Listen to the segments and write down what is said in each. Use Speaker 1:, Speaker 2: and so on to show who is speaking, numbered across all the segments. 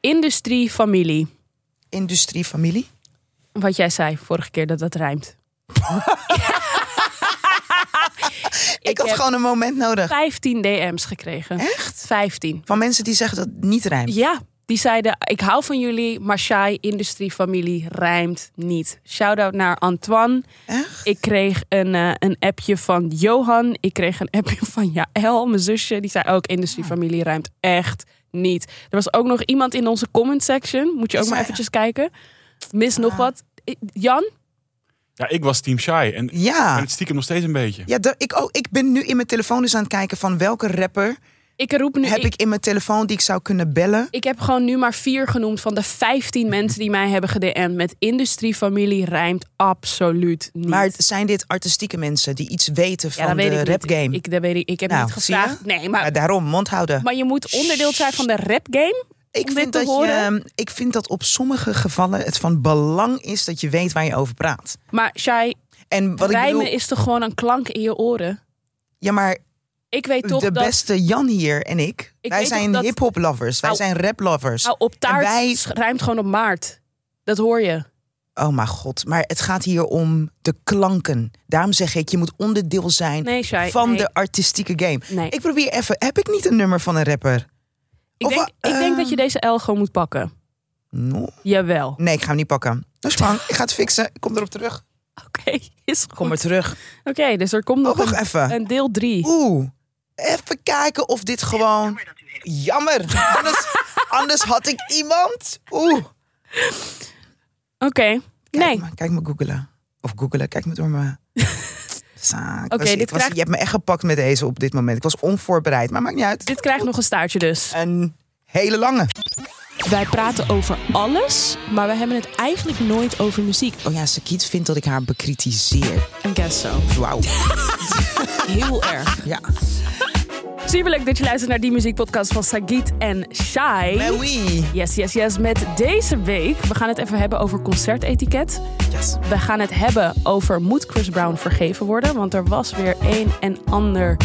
Speaker 1: Industrie, familie.
Speaker 2: Industrie, familie.
Speaker 1: Wat jij zei vorige keer dat dat rijmt.
Speaker 2: Ik, had
Speaker 1: heb
Speaker 2: gewoon een moment nodig.
Speaker 1: 15 DM's gekregen.
Speaker 2: Echt?
Speaker 1: 15.
Speaker 2: Van mensen die zeggen dat het niet rijmt.
Speaker 1: Ja, die zeiden: Ik hou van jullie, maar shy, industrie, familie rijmt niet. Shout-out naar Antoine.
Speaker 2: Echt?
Speaker 1: Ik kreeg een, eh, een appje van Johan. Ik kreeg een appje van Jaël, mijn zusje. Die zei ook: Industriefamilie ruimt echt niet. Er was ook nog iemand in onze comment section. Moet je ook maar
Speaker 2: zei- Ah.
Speaker 1: eventjes kijken. Mis nog wat. Eh, Jan?
Speaker 3: Ja, ik was team shy en ik ben
Speaker 2: Ja.
Speaker 3: het stiekem nog steeds een beetje.
Speaker 2: Ja, daar- ik, oh, ik ben nu in mijn telefoon dus aan het kijken van welke rapper
Speaker 1: Ik roep nu.
Speaker 2: heb
Speaker 1: ik,
Speaker 2: ik in mijn telefoon die ik zou kunnen bellen.
Speaker 1: ik heb gewoon nu maar vier genoemd van de 15 mensen die mij hebben gedm'd. Met industriefamilie rijmt absoluut niet.
Speaker 2: Maar zijn dit artistieke mensen die iets weten van de
Speaker 1: ik
Speaker 2: rap
Speaker 1: niet.
Speaker 2: game?
Speaker 1: Ik, dat weet ik, ik heb
Speaker 2: Nou,
Speaker 1: niet
Speaker 2: zie je?
Speaker 1: gevraagd. Nee, maar,
Speaker 2: Maar daarom, mond houden.
Speaker 1: maar je moet onderdeel zijn van de rap game.
Speaker 2: ik,
Speaker 1: om dit
Speaker 2: vind
Speaker 1: te
Speaker 2: dat
Speaker 1: horen-
Speaker 2: Je, ehm, ik vind dat op sommige gevallen het van belang is dat je weet waar je over praat.
Speaker 1: Maar Shai,
Speaker 2: En wat ik
Speaker 1: rijmen
Speaker 2: bedoel,
Speaker 1: is toch gewoon een klank in je oren?
Speaker 2: ja, maar
Speaker 1: Ik weet toch
Speaker 2: de
Speaker 1: dat...
Speaker 2: beste Jan hier en ik,
Speaker 1: Ik
Speaker 2: wij
Speaker 1: weet
Speaker 2: zijn
Speaker 1: toch dat-
Speaker 2: hip-hop lovers, wij
Speaker 1: Nou,
Speaker 2: zijn rap lovers.
Speaker 1: Nou, op taart
Speaker 2: En wij-
Speaker 1: sch- rijmt gewoon op maart. Dat hoor je.
Speaker 2: Oh mijn god, maar het gaat hier om de klanken. Daarom zeg ik, je moet onderdeel zijn
Speaker 1: Nee, Shai.
Speaker 2: van
Speaker 1: nee.
Speaker 2: de artistieke game.
Speaker 1: Nee.
Speaker 2: Ik probeer even, heb ik niet een nummer van een rapper?
Speaker 1: Ik,
Speaker 2: of
Speaker 1: denk,
Speaker 2: wa-
Speaker 1: ik denk
Speaker 2: eh,
Speaker 1: dat je deze L gewoon moet pakken.
Speaker 2: No.
Speaker 1: Jawel. Oké,
Speaker 2: Nee, ik ga hem niet pakken. Dat is bang, ik ga het fixen, ik kom erop terug.
Speaker 1: is
Speaker 2: Kom
Speaker 1: goed.
Speaker 2: er
Speaker 1: Oké,
Speaker 2: terug.
Speaker 1: dus er komt
Speaker 2: Oh,
Speaker 1: nog
Speaker 2: wacht
Speaker 1: een,
Speaker 2: even.
Speaker 1: een deel 3.
Speaker 2: Oeh, even kijken of dit gewoon... Jammer, anders, anders had ik iemand. Oeh.
Speaker 1: Oké.
Speaker 2: Kijk
Speaker 1: Nee.
Speaker 2: me- kijk me googelen. Of googelen, kijk me door mijn... Sa, ik
Speaker 1: Oké,
Speaker 2: was- ik
Speaker 1: dit
Speaker 2: was-
Speaker 1: krijgt-
Speaker 2: Je hebt me echt gepakt met deze op dit moment. Ik was onvoorbereid, maar maakt niet uit.
Speaker 1: Dit krijgt nog een staartje dus.
Speaker 2: Een hele lange.
Speaker 1: Wij praten over alles, maar we hebben het eigenlijk nooit over muziek.
Speaker 2: Oh ja, Sakiet vindt dat ik haar bekritiseer.
Speaker 1: En guess so.
Speaker 2: Wauw.
Speaker 1: Heel erg.
Speaker 2: Ja.
Speaker 1: Super leuk dat je luistert naar die muziekpodcast van Sagit en Shai.
Speaker 2: Maar oui.
Speaker 1: Yes, yes, yes. Met deze week, we gaan het even hebben over concertetiket.
Speaker 2: Yes.
Speaker 1: We gaan het hebben over moet Chris Brown vergeven worden? Want er was weer een en ander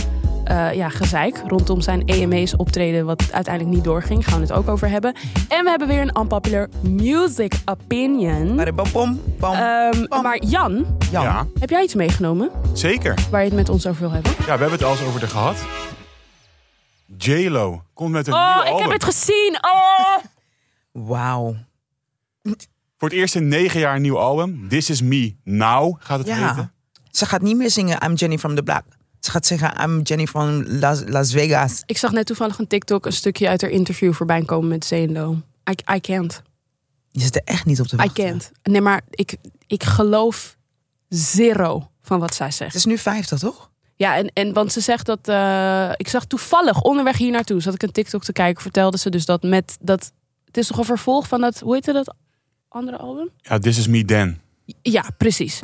Speaker 1: eh, ja, gezeik rondom zijn EMA's optreden, wat uiteindelijk niet doorging. Gaan we het ook over hebben. En we hebben weer een unpopular music opinion.
Speaker 2: Maar bam, bam, bam.
Speaker 1: Ehm,
Speaker 2: bam.
Speaker 1: maar Jan,
Speaker 2: Jan.
Speaker 3: Ja,
Speaker 1: heb jij iets meegenomen
Speaker 3: zeker.
Speaker 1: waar je het met ons over wil hebben?
Speaker 3: Ja, we hebben het al eens over haar gehad. J-Lo komt met een
Speaker 1: Oh,
Speaker 3: nieuwe
Speaker 1: ik heb
Speaker 3: album.
Speaker 1: het gezien. Oh.
Speaker 2: Wauw.
Speaker 3: Voor het eerst in negen jaar een nieuw album. This Is Me Now gaat het
Speaker 2: Ja.
Speaker 3: heten.
Speaker 2: Ze gaat niet meer zingen I'm Jenny from the Black. Ze gaat zeggen I'm Jenny from Las, Las Vegas.
Speaker 1: Ik zag net toevallig een TikTok een stukje uit haar interview voorbij komen met Zeno. I, I can't.
Speaker 2: Je zit er echt niet op te
Speaker 1: I
Speaker 2: wachten.
Speaker 1: can't. Nee, maar ik, ik geloof zero van wat zij
Speaker 2: Het
Speaker 1: zegt.
Speaker 2: is nu 50, toch?
Speaker 1: Ja, en, en want ze zegt dat. eh, ik zag toevallig onderweg hier naartoe, zat ik een TikTok te kijken, vertelde ze dus dat met dat. Het is toch een vervolg van dat. Hoe heette dat andere album?
Speaker 3: Ja, This Is Me Then.
Speaker 1: Ja, precies.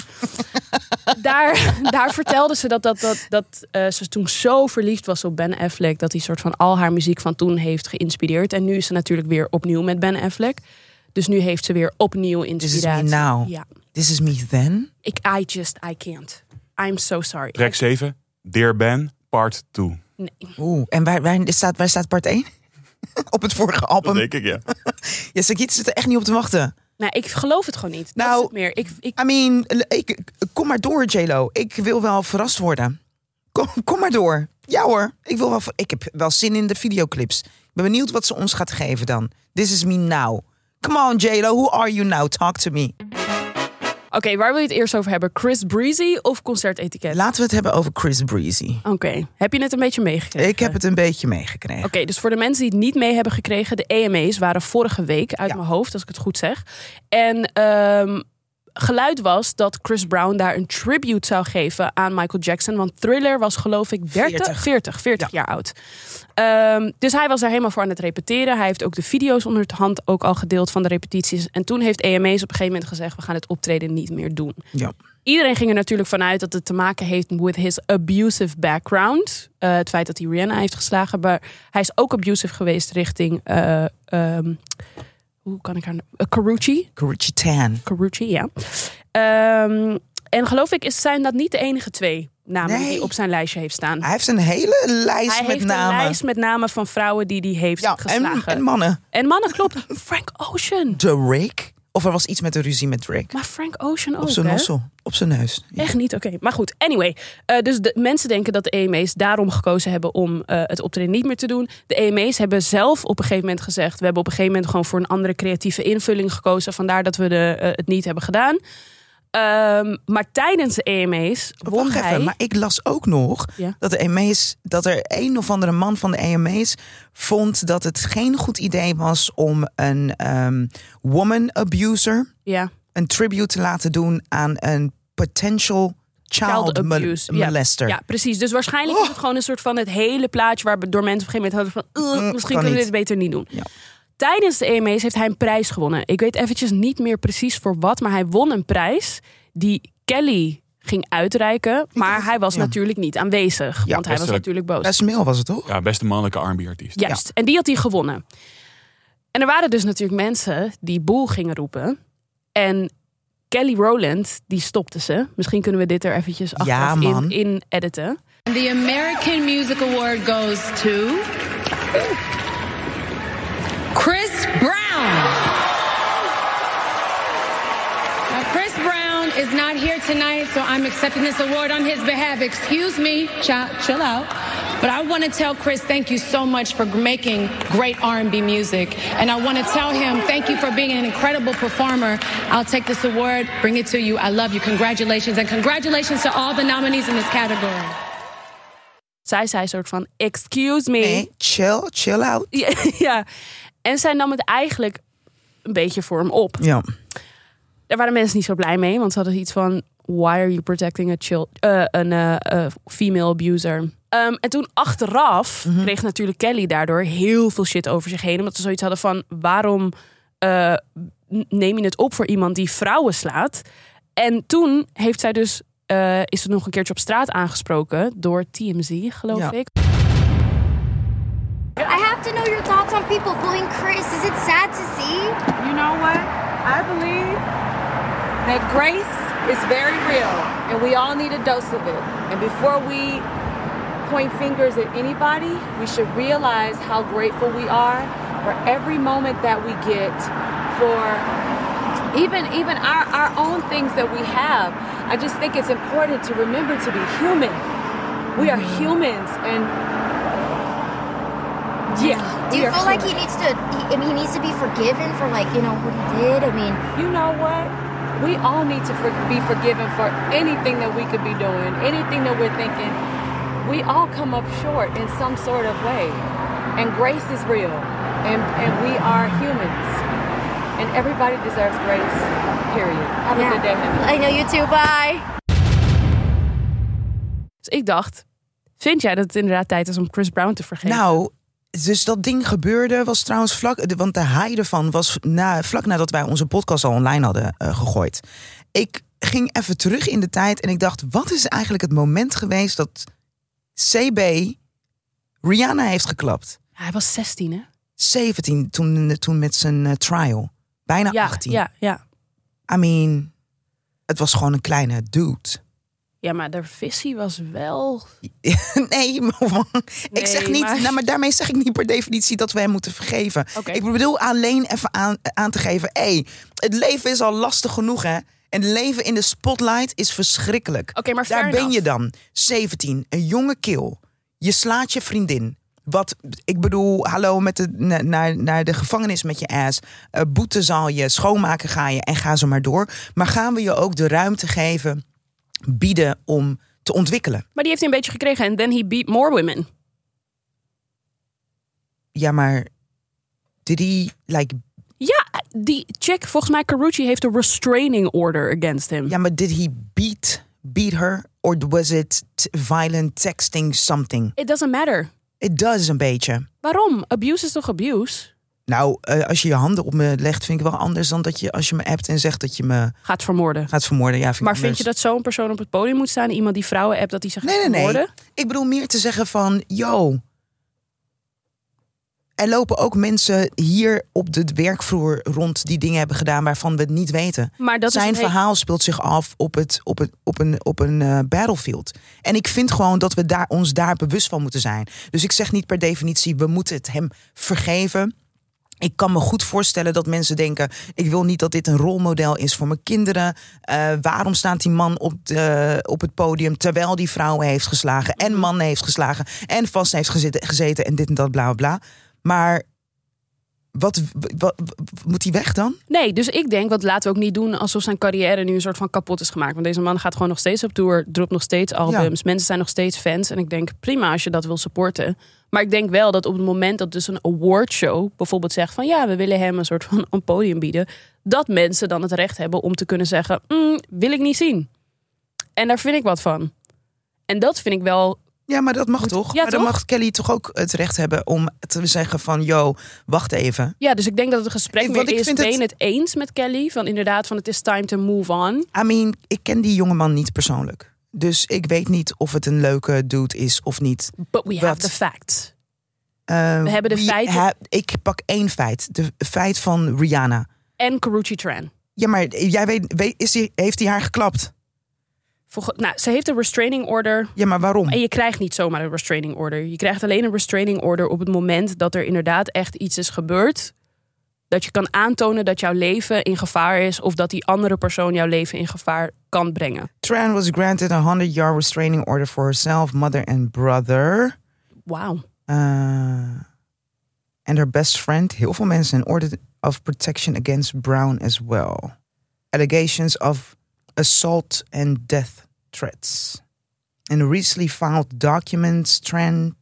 Speaker 1: daar, daar vertelde ze dat, dat, dat, dat eh, ze toen zo verliefd was op Ben Affleck. Dat hij soort van al haar muziek van toen heeft geïnspireerd. En nu is ze natuurlijk weer opnieuw met Ben Affleck. Dus nu heeft ze weer opnieuw
Speaker 2: This is
Speaker 1: inspiratie.
Speaker 2: me now.
Speaker 1: Ja.
Speaker 2: This is me then.
Speaker 1: Ik, I just, I can't. I'm so sorry.
Speaker 3: Track 7, Dear Ben, Part 2.
Speaker 2: Oeh, en waar, waar, staat, waar staat part 1? op het vorige
Speaker 3: Dat
Speaker 2: album.
Speaker 3: denk ik, ja.
Speaker 2: Ja, Sakiet zit er echt niet op te wachten.
Speaker 1: Nou, ik geloof het gewoon niet. dat
Speaker 2: Nou,
Speaker 1: is het meer. Ik, ik,
Speaker 2: I mean, l- ik, kom maar door, JLo. Ik wil wel verrast worden. Kom, kom maar door. Ja hoor, ik, wil wel, ver- ik heb wel zin in de videoclips. Ik ben benieuwd wat ze ons gaat geven dan. This is me now. Come on, JLo, who are you now? Talk to me.
Speaker 1: Oké, waar wil je het eerst over hebben? Chris Breezy of concertetiket?
Speaker 2: Laten we het hebben over Chris Breezy.
Speaker 1: Oké, heb je het een beetje meegekregen?
Speaker 2: Ik heb het een beetje meegekregen.
Speaker 1: Oké, dus voor de mensen die het niet mee hebben gekregen, de EMA's waren vorige week uit
Speaker 2: Ja.
Speaker 1: mijn hoofd, als ik het goed zeg. En ehm, geluid was dat Chris Brown daar een tribute zou geven aan Michael Jackson. Want Thriller was geloof ik 30, 40,
Speaker 2: 40.
Speaker 1: 40, jaar oud. Ehm, dus hij was daar helemaal voor aan het repeteren. Hij heeft ook de video's onder de hand ook al gedeeld van de repetities. En toen heeft EMA's op een gegeven moment gezegd, we gaan het optreden niet meer doen.
Speaker 2: Ja.
Speaker 1: Iedereen ging er natuurlijk vanuit dat het te maken heeft met his abusive background. Eh, het feit dat hij Rihanna heeft geslagen. Maar hij is ook abusive geweest richting. eh, ehm, hoe kan ik haar. Uh, Carucci.
Speaker 2: Karrueche Tan.
Speaker 1: Carucci, ja. Ehm, en geloof ik is- zijn dat niet de enige twee namen die
Speaker 2: Nee.
Speaker 1: hij op zijn lijstje heeft staan.
Speaker 2: Hij heeft een hele lijst
Speaker 1: hij
Speaker 2: met
Speaker 1: heeft
Speaker 2: namen.
Speaker 1: een lijst met namen van vrouwen die hij heeft
Speaker 2: ja, en,
Speaker 1: geslagen.
Speaker 2: en mannen.
Speaker 1: En mannen, klopt. Frank Ocean.
Speaker 2: Drake. Of er was iets met de ruzie met Drake.
Speaker 1: Maar Frank Ocean ook,
Speaker 2: Op zijn
Speaker 1: hè?
Speaker 2: nossel. Op zijn neus. Ja.
Speaker 1: Echt niet, oké. Maar goed, anyway. Eh, dus de mensen denken dat de EME's daarom gekozen hebben om eh, het optreden niet meer te doen. De EME's hebben zelf op een gegeven moment gezegd... we hebben op een gegeven moment gewoon voor een andere creatieve invulling gekozen. Vandaar dat we de, eh, het niet hebben gedaan. Ehm, maar tijdens de EME's won
Speaker 2: Oh, Wacht
Speaker 1: hij...
Speaker 2: even, maar ik las ook nog
Speaker 1: Ja.
Speaker 2: dat, de EMA's, dat er een of andere man van de EMA's vond dat het geen goed idee was om een ehm, woman abuser
Speaker 1: Ja,
Speaker 2: een tribute te laten doen aan een potential child,
Speaker 1: child
Speaker 2: mol-
Speaker 1: abuse. Ja.
Speaker 2: molester. Oh.
Speaker 1: Ja, precies. Dus waarschijnlijk is het gewoon een soort van het hele plaatje... waardoor mensen op een gegeven moment hadden van... "Ugh,
Speaker 2: Mm,
Speaker 1: misschien
Speaker 2: kan
Speaker 1: kunnen we dit
Speaker 2: niet."
Speaker 1: beter niet doen.
Speaker 2: Ja.
Speaker 1: Tijdens de EME's heeft hij een prijs gewonnen. Ik weet eventjes niet meer precies voor wat, maar hij won een prijs die Kelly ging uitreiken. Maar hij was
Speaker 2: ja.
Speaker 1: natuurlijk niet aanwezig, want hij was
Speaker 3: best
Speaker 1: natuurlijk boos.
Speaker 2: Best mail was het toch?
Speaker 3: Ja, beste mannelijke R&B-artiest.
Speaker 1: Juist, en die had hij gewonnen. En er waren dus natuurlijk mensen die boel gingen roepen. En Kelly Rowland, die stopte ze. Misschien kunnen we dit er eventjes achteraf in,
Speaker 2: man.
Speaker 1: in editen.
Speaker 4: The American Music Award goes to Chris Brown. Now, Chris Brown is not here tonight, so I'm accepting this award on his behalf. Excuse me, chill, chill out. But I want to tell Chris thank you so much for making great R&B music, and I want to tell him thank you for being an incredible performer. I'll take this award, bring it to you. I love you. Congratulations, and congratulations to all the nominees in this category.
Speaker 1: Zij zei een soort van, excuse me.
Speaker 2: Nee, chill, chill out.
Speaker 1: Ja, ja. En zij nam het eigenlijk een beetje voor hem op.
Speaker 2: Ja.
Speaker 1: Daar waren mensen niet zo blij mee, want ze hadden iets van: Why are you protecting a child, eh, een eh, eh, female abuser? Ehm, en toen achteraf
Speaker 2: Mhm.
Speaker 1: kreeg natuurlijk Kelly daardoor heel veel shit over zich heen, omdat ze zoiets hadden van: Waarom eh, n- neem je het op voor iemand die vrouwen slaat? En toen heeft zij dus eh, is ze nog een keertje op straat aangesproken door TMZ, geloof
Speaker 2: Ja.
Speaker 1: ik.
Speaker 5: I have to know your thoughts on people bullying Chris. Is it sad to see?
Speaker 6: You know what? I believe that grace is very real and we all need a dose of it. And before we point fingers at anybody, we should realize how grateful we are for every moment that we get for even even our, our own things that we have. I just think it's important to remember to be human. We are
Speaker 5: Mm-hmm.
Speaker 6: humans and yeah.
Speaker 5: Do
Speaker 6: we
Speaker 5: you
Speaker 6: are
Speaker 5: feel like
Speaker 6: humans.
Speaker 5: he needs to? He, I mean, he needs to be forgiven for like you know what he did. I mean,
Speaker 6: you know what? We all need to for- be forgiven for anything that we could be doing, anything that we're thinking. We all come up short in some sort of way. And grace is real. And, and we are humans. And everybody deserves grace, period. Have a
Speaker 5: yeah.
Speaker 6: good day, honey.
Speaker 5: I know you too. Bye.
Speaker 1: Dus ik dacht: Vind jij dat het inderdaad tijd is om Chris Brown te vergeven?
Speaker 2: Nou, dus dat ding gebeurde was trouwens vlak. de- Want de haai ervan was na, vlak nadat wij onze podcast al online hadden eh, gegooid. Ik ging even terug in de tijd en ik dacht: wat is eigenlijk het moment geweest dat CB Rihanna heeft geklapt?
Speaker 1: Hij was 16, hè?
Speaker 2: 17 toen, toen met zijn eh, trial. Bijna
Speaker 1: ja,
Speaker 2: 18.
Speaker 1: ja, ja.
Speaker 2: I mean, het was gewoon een kleine dude.
Speaker 1: Ja, maar de visie was wel.
Speaker 2: nee, maar- ik zeg niet.
Speaker 1: maar-
Speaker 2: Nou, maar daarmee zeg ik niet per definitie dat we hem moeten vergeven.
Speaker 1: Oké.
Speaker 2: Ik bedoel alleen even aan, aan te geven. Hé, het leven is al lastig genoeg, hè? En leven in de spotlight is verschrikkelijk.
Speaker 1: Oké, maar
Speaker 2: Daar
Speaker 1: fair
Speaker 2: ben
Speaker 1: enough.
Speaker 2: je dan. 17, een jonge kil. Je slaat je vriendin. Wat, ik bedoel, hallo, met de, na- naar, naar de gevangenis met je ass. Eh, boete zal je, schoonmaken ga je en ga zo maar door. Maar gaan we je ook de ruimte geven, bieden om te ontwikkelen?
Speaker 1: Maar die heeft hij een beetje gekregen. En then he beat more women.
Speaker 2: ja, maar did he like
Speaker 1: Ja, die chick, volgens mij Carucci heeft een restraining order against him.
Speaker 2: ja, maar did he beat beat her or was it t- violent texting something?
Speaker 1: It doesn't matter.
Speaker 2: It does een beetje.
Speaker 1: Waarom? Abuse is toch abuse?
Speaker 2: Nou, eh, als je je handen op me legt, vind ik wel anders dan dat je als je me appt en zegt dat je me
Speaker 1: Gaat vermoorden.
Speaker 2: gaat vermoorden. Ja, vind ik
Speaker 1: Maar vind
Speaker 2: anders.
Speaker 1: je dat zo'n persoon op het podium moet staan? Iemand die vrouwen appt dat hij ze gaat
Speaker 2: Nee, nee, nee.
Speaker 1: vermoorden?
Speaker 2: Ik bedoel meer te zeggen van, yo, er lopen ook mensen hier op de werkvloer rond die dingen hebben gedaan waarvan we het niet weten.
Speaker 1: Maar dat is
Speaker 2: Zijn
Speaker 1: een hele-
Speaker 2: verhaal speelt zich af op, het, op, het, op een, op een eh, battlefield. En ik vind gewoon dat we daar, ons daar bewust van moeten zijn. Dus ik zeg niet per definitie, we moeten het hem vergeven. Ik kan me goed voorstellen dat mensen denken: ik wil niet dat dit een rolmodel is voor mijn kinderen. Eh, waarom staat die man op, de, op het podium terwijl die vrouwen heeft geslagen en mannen heeft geslagen en vast heeft gezeten, gezeten en dit en dat, bla bla bla. Maar wat, wat, moet hij weg dan?
Speaker 1: Nee, dus ik denk, wat laten we ook niet doen alsof zijn carrière nu een soort van kapot is gemaakt. Want deze man gaat gewoon nog steeds op tour, dropt nog steeds albums. Mensen zijn nog steeds fans. En ik denk, prima als je dat wil supporten. Maar ik denk wel dat op het moment dat dus een awardshow bijvoorbeeld zegt van... ja, we willen hem een soort van een podium bieden. Dat mensen dan het recht hebben om te kunnen zeggen, "Mm, wil ik niet zien. En daar vind ik wat van. En dat vind ik wel
Speaker 2: Ja, maar dat mag toch?
Speaker 1: ja,
Speaker 2: maar dan
Speaker 1: toch?
Speaker 2: mag Kelly toch ook het recht hebben om te zeggen: van yo, wacht even.
Speaker 1: Ja, dus ik denk dat het gesprek
Speaker 2: Ik-
Speaker 1: meer
Speaker 2: want ik
Speaker 1: is.
Speaker 2: vind
Speaker 1: Ben
Speaker 2: het-
Speaker 1: je het eens met Kelly? Van inderdaad, van het is time to move on.
Speaker 2: I mean, ik ken die jongeman niet persoonlijk. Dus ik weet niet of het een leuke dude is of niet.
Speaker 1: But we have
Speaker 2: Wat?
Speaker 1: the facts.
Speaker 2: Eh,
Speaker 1: We hebben de
Speaker 2: wie
Speaker 1: feiten.
Speaker 2: heb- ik pak één feit. De feit van Rihanna.
Speaker 1: En Karuchi Tran.
Speaker 2: Ja, maar jij weet, weet- is die, heeft hij haar geklapt?
Speaker 1: Volg- nou, ze heeft een restraining order.
Speaker 2: Ja, maar waarom?
Speaker 1: En je krijgt niet zomaar een restraining order. Je krijgt alleen een restraining order op het moment dat er inderdaad echt iets is gebeurd. Dat je kan aantonen dat jouw leven in gevaar is. Of dat die andere persoon jouw leven in gevaar kan brengen.
Speaker 2: Tran was granted a 100-yard restraining order for herself, mother and brother.
Speaker 1: Wauw.
Speaker 2: Eh, En haar best friend. Heel veel mensen. An order of protection against Brown as well. Allegations of assault and death threats. And recently filed documents. Tran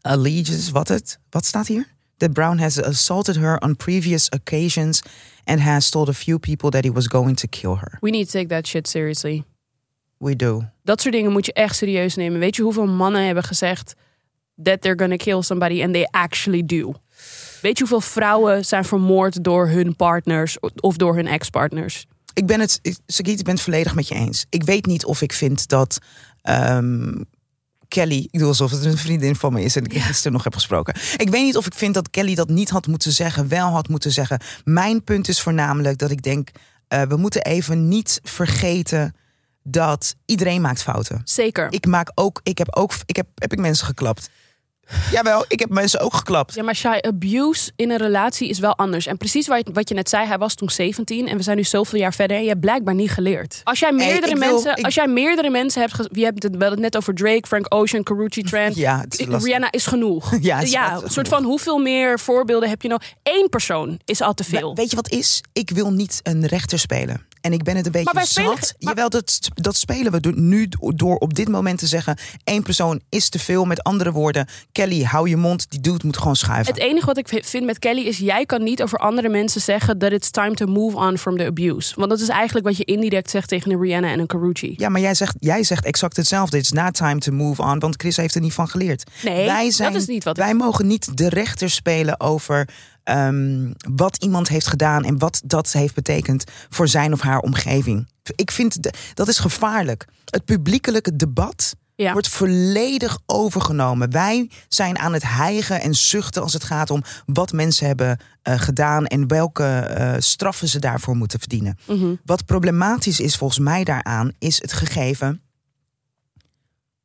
Speaker 2: alleges. Wat het? Wat staat hier? That Brown has assaulted her on previous occasions and has told a few people that he was going to kill her.
Speaker 1: We need to take that shit seriously.
Speaker 2: We do.
Speaker 1: Dat soort dingen moet je echt serieus nemen. Weet je hoeveel mannen hebben gezegd that they're gonna kill somebody and they actually do? Weet je hoeveel vrouwen zijn vermoord door hun partners of door hun ex-partners?
Speaker 2: ik ben het, ik- Sagit, ik ben het volledig met je eens. Ik weet niet of ik vind dat ehm, Kelly, ik doe alsof het een vriendin van me is en ik gisteren nog heb gesproken. Ik weet niet of ik vind dat Kelly dat niet had moeten zeggen, wel had moeten zeggen. Mijn punt is voornamelijk dat ik denk, eh, we moeten even niet vergeten dat iedereen maakt fouten.
Speaker 1: Zeker.
Speaker 2: Ik maak ook, ik heb ook, ik heb, heb ik mensen geklapt. Jawel, ik heb mensen ook geklapt.
Speaker 1: Ja, maar Shai, abuse in een relatie is wel anders. En precies wat je, wat je net zei, hij was toen 17 en we zijn nu zoveel jaar verder en je hebt blijkbaar niet geleerd. Als jij meerdere,
Speaker 2: ik wil-
Speaker 1: mensen,
Speaker 2: ik-
Speaker 1: als jij meerdere mensen hebt, ge- je hebt het, wel het net over Drake, Frank Ocean, Karuchi Tran.
Speaker 2: Ja, het is
Speaker 1: Ik-
Speaker 2: lastig.
Speaker 1: Rihanna is genoeg.
Speaker 2: Ja, het is
Speaker 1: ja
Speaker 2: lastig
Speaker 1: een soort van hoeveel meer voorbeelden heb je nou? Eén persoon is al te veel.
Speaker 2: Maar weet je wat is? Ik wil niet een rechter spelen. En ik ben het een beetje
Speaker 1: Maar wij spelen
Speaker 2: zat.
Speaker 1: ge- maar-
Speaker 2: Jawel, dat, dat spelen we do- nu do- door op dit moment te zeggen... één persoon is te veel. Met andere woorden, Kelly, hou je mond. Die dude moet gewoon schuiven.
Speaker 1: Het enige wat ik v- vind met Kelly is: jij kan niet over andere mensen zeggen dat it's time to move on from the abuse. Want dat is eigenlijk wat je indirect zegt tegen een Rihanna en een Karuchi.
Speaker 2: Ja, maar jij zegt, jij zegt exact hetzelfde. It's not time to move on, want Chris heeft er niet van geleerd.
Speaker 1: Nee,
Speaker 2: wij
Speaker 1: dat
Speaker 2: zijn,
Speaker 1: is niet wat ik-
Speaker 2: Wij mogen niet de rechter spelen over ehm, wat iemand heeft gedaan... en wat dat heeft betekend voor zijn of haar omgeving. Ik vind, de- dat is gevaarlijk. Het publiekelijke debat...
Speaker 1: Ja.
Speaker 2: wordt volledig overgenomen. Wij zijn aan het hijgen en zuchten als het gaat om wat mensen hebben eh, gedaan en welke eh, straffen ze daarvoor moeten verdienen. Wat problematisch is volgens mij daaraan, is het gegeven.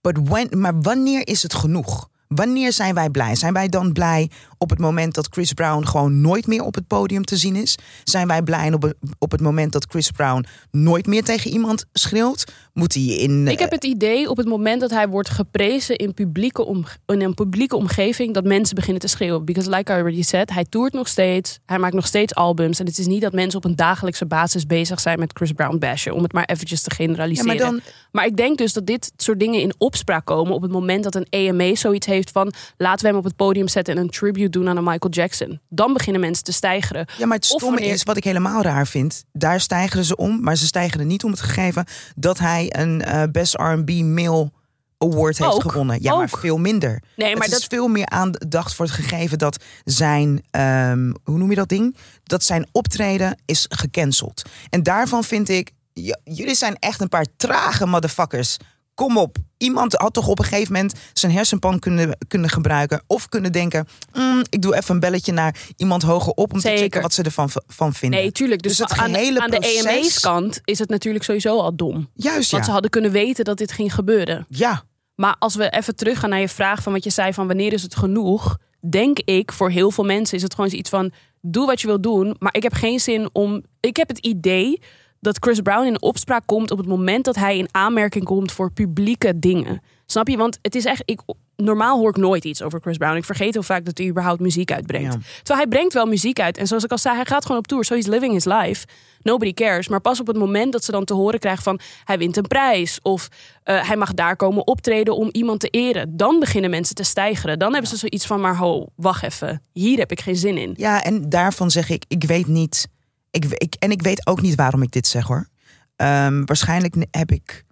Speaker 2: But when, maar wanneer is het genoeg? Wanneer zijn wij blij? Zijn wij dan blij op het moment dat Chris Brown gewoon nooit meer op het podium te zien is? Zijn wij blij op, op het moment dat Chris Brown nooit meer tegen iemand schreeuwt? Moet hij in.
Speaker 1: Ik heb
Speaker 2: eh,
Speaker 1: het idee op het moment dat hij wordt geprezen in, publieke omge- in een publieke omgeving dat mensen beginnen te schreeuwen. Because like I already said, hij toert nog steeds, hij maakt nog steeds albums. En het is niet dat mensen op een dagelijkse basis bezig zijn met Chris Brown bashen, om het maar eventjes te generaliseren.
Speaker 2: Ja, maar dan-
Speaker 1: Maar ik denk dus dat dit soort dingen in opspraak komen op het moment dat een EMA zoiets heeft van laten we hem op het podium zetten en een tribute doen aan een Michael Jackson. Dan beginnen mensen te stijgeren.
Speaker 2: eh, Ja, maar het
Speaker 1: Of
Speaker 2: stomme
Speaker 1: wanneer-
Speaker 2: is, wat ik helemaal raar vind... daar stijgeren ze om, maar ze stijgeren niet om het gegeven... dat hij een eh, Best R&B Male Award heeft
Speaker 1: Ook,
Speaker 2: gewonnen. Ja, maar
Speaker 1: ook.
Speaker 2: veel minder.
Speaker 1: Nee,
Speaker 2: het
Speaker 1: maar
Speaker 2: is
Speaker 1: dat-
Speaker 2: veel meer aandacht voor het gegeven dat zijn... ehm, hoe noem je dat ding? Dat zijn optreden is gecanceld. En daarvan vind ik... j- jullie zijn echt een paar trage motherfuckers... Kom op. Iemand had toch op een gegeven moment zijn hersenpan kunnen, kunnen gebruiken. Of kunnen denken, "Mm, ik doe even een belletje naar iemand hoger op om
Speaker 1: Zeker.
Speaker 2: te checken wat ze ervan v- van vinden.
Speaker 1: Nee, tuurlijk. Dus,
Speaker 2: het
Speaker 1: aan,
Speaker 2: gehele
Speaker 1: aan de
Speaker 2: proces-
Speaker 1: EME's kant is het natuurlijk sowieso al dom.
Speaker 2: Juist, ja.
Speaker 1: Want ze hadden kunnen weten dat dit ging gebeuren.
Speaker 2: ja.
Speaker 1: Maar als we even teruggaan naar je vraag van wat je zei van wanneer is het genoeg? Denk ik, voor heel veel mensen is het gewoon iets van doe wat je wil doen. Maar ik heb geen zin om. Ik heb het idee dat Chris Brown in opspraak komt op het moment dat hij in aanmerking komt voor publieke dingen. Snap je? Want het is echt. Ik, normaal hoor ik nooit iets over Chris Brown. Ik vergeet heel vaak dat hij überhaupt muziek uitbrengt.
Speaker 2: Ja.
Speaker 1: Terwijl hij brengt wel muziek uit. En zoals ik al zei, hij gaat gewoon op tour. So he's living his life. Nobody cares. Maar pas op het moment dat ze dan te horen krijgen van... hij wint een prijs. Of eh, hij mag daar komen optreden om iemand te eren. Dan beginnen mensen te stijgeren. Dan hebben ze zoiets van, maar ho, wacht even. Hier heb ik geen zin in.
Speaker 2: Ja, en daarvan zeg ik, ik weet niet. Ik, we- ik, en ik weet ook niet waarom ik dit zeg hoor. Ehm, waarschijnlijk ne- heb ik.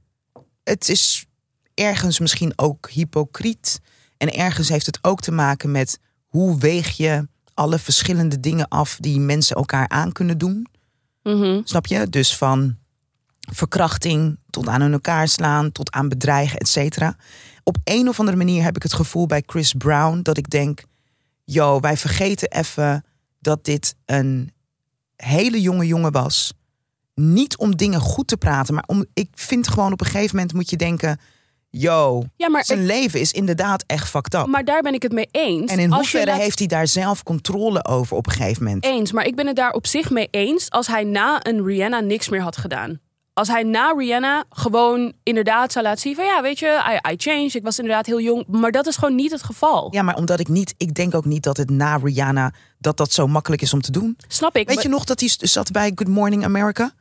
Speaker 2: Het is ergens misschien ook hypocriet. En ergens heeft het ook te maken met hoe weeg je alle verschillende dingen af die mensen elkaar aan kunnen doen. Snap je? Dus van verkrachting tot aan hun elkaar slaan, tot aan bedreigen, et cetera. Op een of andere manier heb ik het gevoel bij Chris Brown dat ik denk: yo, wij vergeten even dat dit een hele jonge jongen was. Niet om dingen goed te praten, maar om, ik vind gewoon op een gegeven moment moet je denken: yo,
Speaker 1: Ja, maar
Speaker 2: zijn
Speaker 1: ik-
Speaker 2: leven is inderdaad echt fucked up.
Speaker 1: Maar daar ben ik het mee eens.
Speaker 2: en
Speaker 1: Als
Speaker 2: in
Speaker 1: je
Speaker 2: hoeverre
Speaker 1: laat-
Speaker 2: heeft hij daar zelf controle over op een gegeven moment?
Speaker 1: eens, maar ik ben het daar op zich mee eens als hij na een Rihanna niks meer had gedaan. Als hij na Rihanna gewoon inderdaad zou laten zien van ja, weet je, I, I changed, ik was inderdaad heel jong. Maar dat is gewoon niet het geval.
Speaker 2: Ja, maar omdat ik niet, ik denk ook niet dat het na Rihanna dat dat zo makkelijk is om te doen.
Speaker 1: Snap ik.
Speaker 2: Weet je nog dat hij zat bij Good Morning America?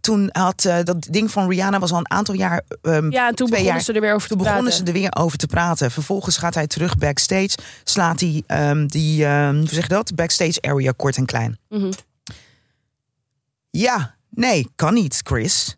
Speaker 2: Toen had eh, dat ding van Rihanna was al een aantal jaar. ehm,
Speaker 1: Ja, en toen
Speaker 2: twee
Speaker 1: begonnen
Speaker 2: jaar-
Speaker 1: ze er weer over te
Speaker 2: toen begonnen
Speaker 1: praten.
Speaker 2: ze er weer over te praten. Vervolgens gaat hij terug backstage. Slaat hij ehm, die, ehm, hoe zeg je dat? Backstage area kort en klein.
Speaker 1: Mhm.
Speaker 2: Ja, nee, kan niet, Chris.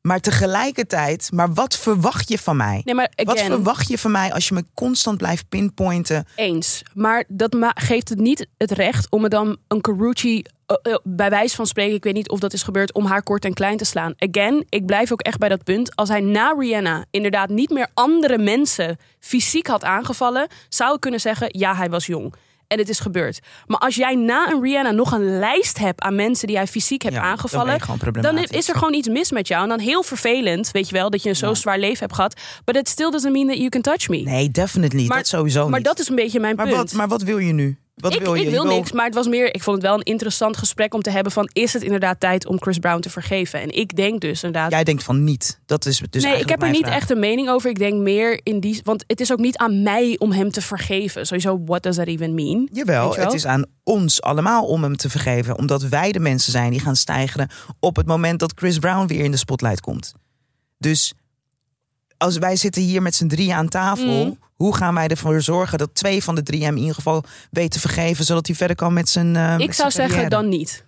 Speaker 2: Maar tegelijkertijd, maar wat verwacht je van mij?
Speaker 1: Nee, maar
Speaker 2: wat
Speaker 1: again-
Speaker 2: verwacht je van mij als je me constant blijft pinpointen?
Speaker 1: Eens. Maar dat ma- geeft het niet het recht om me dan een Carucci, eh, eh, bij wijze van spreken, ik weet niet of dat is gebeurd, om haar kort en klein te slaan. Again, ik blijf ook echt bij dat punt. Als hij na Rihanna inderdaad niet meer andere mensen fysiek had aangevallen, zou ik kunnen zeggen, ja, hij was jong. En het is gebeurd. Maar als jij na een Rihanna nog een lijst hebt aan mensen die hij fysiek hebt
Speaker 2: Ja, dan ben je
Speaker 1: aangevallen,
Speaker 2: gewoon
Speaker 1: dan
Speaker 2: problematisch.
Speaker 1: is er gewoon iets mis met jou. En dan heel vervelend, weet je wel, dat je een zo zwaar leven hebt gehad. But it still doesn't mean that you can touch me.
Speaker 2: Nee, definitely. dat sowieso
Speaker 1: Maar
Speaker 2: niet.
Speaker 1: dat is een beetje mijn
Speaker 2: maar,
Speaker 1: punt.
Speaker 2: wat, maar wat wil je nu? Wat
Speaker 1: ik,
Speaker 2: wil je?
Speaker 1: ik wil
Speaker 2: Je
Speaker 1: niks, maar het was meer. Ik vond het wel een interessant gesprek om te hebben van is het inderdaad tijd om Chris Brown te vergeven? En ik denk dus inderdaad.
Speaker 2: Jij denkt van niet. Dat is
Speaker 1: nee,
Speaker 2: dus
Speaker 1: ik
Speaker 2: eigenlijk
Speaker 1: heb er
Speaker 2: mijn
Speaker 1: niet
Speaker 2: vraag.
Speaker 1: echt een mening over. Ik denk meer in die, want het is ook niet aan mij om hem te vergeven. Sowieso, what does that even mean? Weet
Speaker 2: Jawel,
Speaker 1: je wel?
Speaker 2: het is aan ons allemaal om hem te vergeven. Omdat wij de mensen zijn die gaan stijgeren op het moment dat Chris Brown weer in de spotlight komt. Dus als wij zitten hier met z'n drieën aan tafel,
Speaker 1: Mhm.
Speaker 2: hoe gaan wij ervoor zorgen dat twee van de drie hem in ieder geval weet te vergeven, zodat hij verder kan met zijn. eh,
Speaker 1: Ik
Speaker 2: met
Speaker 1: zou
Speaker 2: zijn
Speaker 1: zeggen
Speaker 2: carrière?
Speaker 1: dan niet.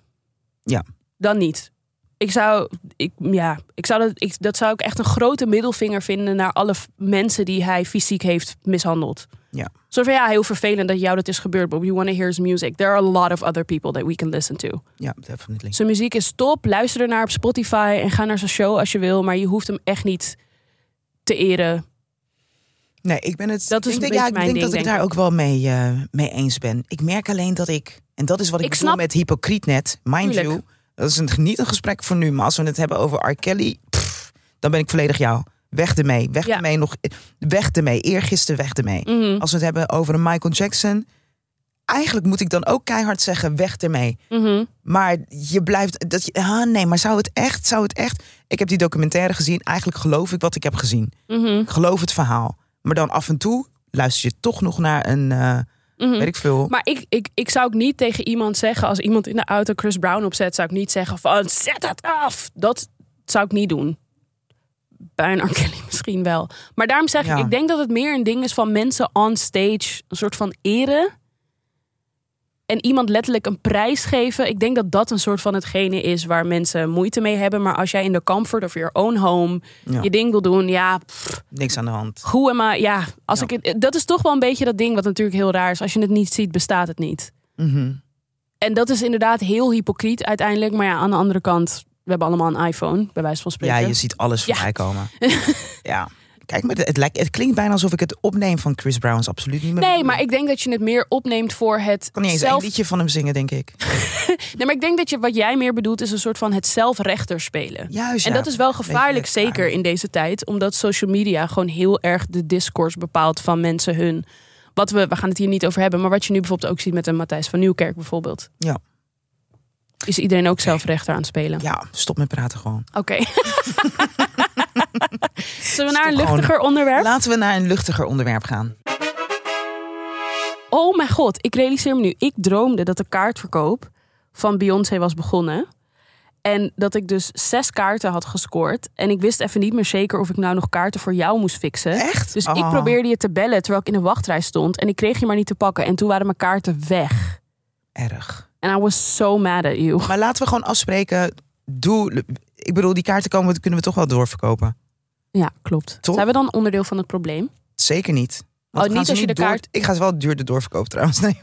Speaker 2: Ja.
Speaker 1: Dan niet. Ik zou, ik, ja, ik zou dat, ik, dat zou ik echt een grote middelvinger vinden naar alle f- mensen die hij fysiek heeft mishandeld.
Speaker 2: Ja.
Speaker 1: Zo van ja, heel vervelend dat jou dat is gebeurd, but we want to hear his music. There are a lot of other people that we can listen to.
Speaker 2: ja, definitely.
Speaker 1: Zijn muziek is top. Luister ernaar op Spotify en ga naar zijn show als je wil. Maar je hoeft hem echt niet te eren.
Speaker 2: Nee, ik ben het.
Speaker 1: Dat is
Speaker 2: ik
Speaker 1: een
Speaker 2: denk,
Speaker 1: beetje
Speaker 2: ja, ik
Speaker 1: mijn
Speaker 2: denk
Speaker 1: ding,
Speaker 2: dat ik
Speaker 1: denk
Speaker 2: daar ook wel mee, eh, mee eens ben. Ik merk alleen dat ik. En dat is wat ik,
Speaker 1: Ik
Speaker 2: bedoel
Speaker 1: snap-
Speaker 2: met hypocriet net. Mind
Speaker 1: Tuurlijk.
Speaker 2: you, dat is een, niet een gesprek voor nu. Maar als we het hebben over R. Kelly, pff, dan ben ik volledig jou. Weg ermee. Weg
Speaker 1: Ja. Mhm.
Speaker 2: ermee. Nog, weg ermee. Eergisteren weg ermee. Als we het hebben over een Michael Jackson. Eigenlijk moet ik dan ook keihard zeggen, weg ermee.
Speaker 1: Mhm.
Speaker 2: Maar je blijft. Dat je, ah, nee, maar zou het echt? Zou het echt? Ik heb die documentaire gezien. Eigenlijk geloof ik wat ik heb gezien.
Speaker 1: Mhm.
Speaker 2: Ik geloof het verhaal. Maar dan af en toe luister je toch nog naar een. eh, Weet ik veel.
Speaker 1: Mhm. Maar ik, ik, ik zou ook niet tegen iemand zeggen, als iemand in de auto Chris Brown opzet, zou ik niet zeggen van zet het af. Dat zou ik niet doen. Bij een R. Kelly misschien wel. Maar daarom zeg
Speaker 2: Ja.
Speaker 1: ik, ik denk dat het meer een ding is van mensen on stage, een soort van eren. En iemand letterlijk een prijs geven. Ik denk dat dat een soort van hetgene is waar mensen moeite mee hebben. Maar als jij in de comfort of your own home
Speaker 2: Ja.
Speaker 1: je ding wil doen, ja, pff,
Speaker 2: niks aan de hand.
Speaker 1: Hoe am I? Ja, als ik het, eh, dat is toch wel een beetje dat ding wat natuurlijk heel raar is. Als je het niet ziet, bestaat
Speaker 2: Mhm.
Speaker 1: het niet. En dat is inderdaad heel hypocriet uiteindelijk. Maar ja, aan de andere kant, We hebben allemaal een iPhone, bij wijze van spreken.
Speaker 2: Ja, je ziet alles
Speaker 1: Ja.
Speaker 2: voorbij komen. ja. Kijk, maar het, lijkt, het klinkt bijna alsof ik het opneem van Chris Brown's absoluut niet meer.
Speaker 1: Nee, maar ik denk dat je het meer opneemt voor het
Speaker 2: kan niet eens
Speaker 1: zelf...
Speaker 2: een liedje van hem zingen, denk ik.
Speaker 1: Nee, maar ik denk dat je, wat jij meer bedoelt is een soort van het zelfrechter spelen.
Speaker 2: Juist,
Speaker 1: En
Speaker 2: ja.
Speaker 1: dat is wel
Speaker 2: Weet je,
Speaker 1: gevaarlijk,
Speaker 2: dat is
Speaker 1: zeker in deze tijd. Omdat social media gewoon heel erg de discourse bepaalt van mensen hun... Wat we, we gaan het hier niet over hebben, maar wat je nu bijvoorbeeld ook ziet met een Matthijs van Nieuwkerk bijvoorbeeld.
Speaker 2: Ja.
Speaker 1: Is iedereen ook zelfrechter aan het spelen?
Speaker 2: Ja, stop met praten gewoon.
Speaker 1: Oké. Zullen we naar een
Speaker 2: Stop gewoon.
Speaker 1: luchtiger onderwerp?
Speaker 2: Laten we naar een luchtiger onderwerp gaan.
Speaker 1: Oh mijn god, ik realiseer me nu. Ik droomde dat de kaartverkoop van Beyoncé was begonnen. En dat ik dus zes kaarten had gescoord. En ik wist even niet meer zeker of ik nou nog kaarten voor jou moest fixen.
Speaker 2: Echt?
Speaker 1: Dus ik
Speaker 2: Oh.
Speaker 1: probeerde je te bellen terwijl ik in de wachtrij stond. En ik kreeg je maar niet te pakken. En toen waren mijn kaarten weg.
Speaker 2: Erg.
Speaker 1: En I was so mad at you.
Speaker 2: Maar laten we gewoon afspreken. Doe, ik bedoel, die kaarten komen, kunnen we toch wel doorverkopen.
Speaker 1: Ja, klopt.
Speaker 2: Toch?
Speaker 1: Zijn we dan onderdeel van het probleem?
Speaker 2: Zeker niet.
Speaker 1: Oh,
Speaker 2: we gaan
Speaker 1: niet
Speaker 2: ze
Speaker 1: als je
Speaker 2: nu
Speaker 1: de kaart-
Speaker 2: Ik ga ze wel duurder doorverkopen trouwens. Nee,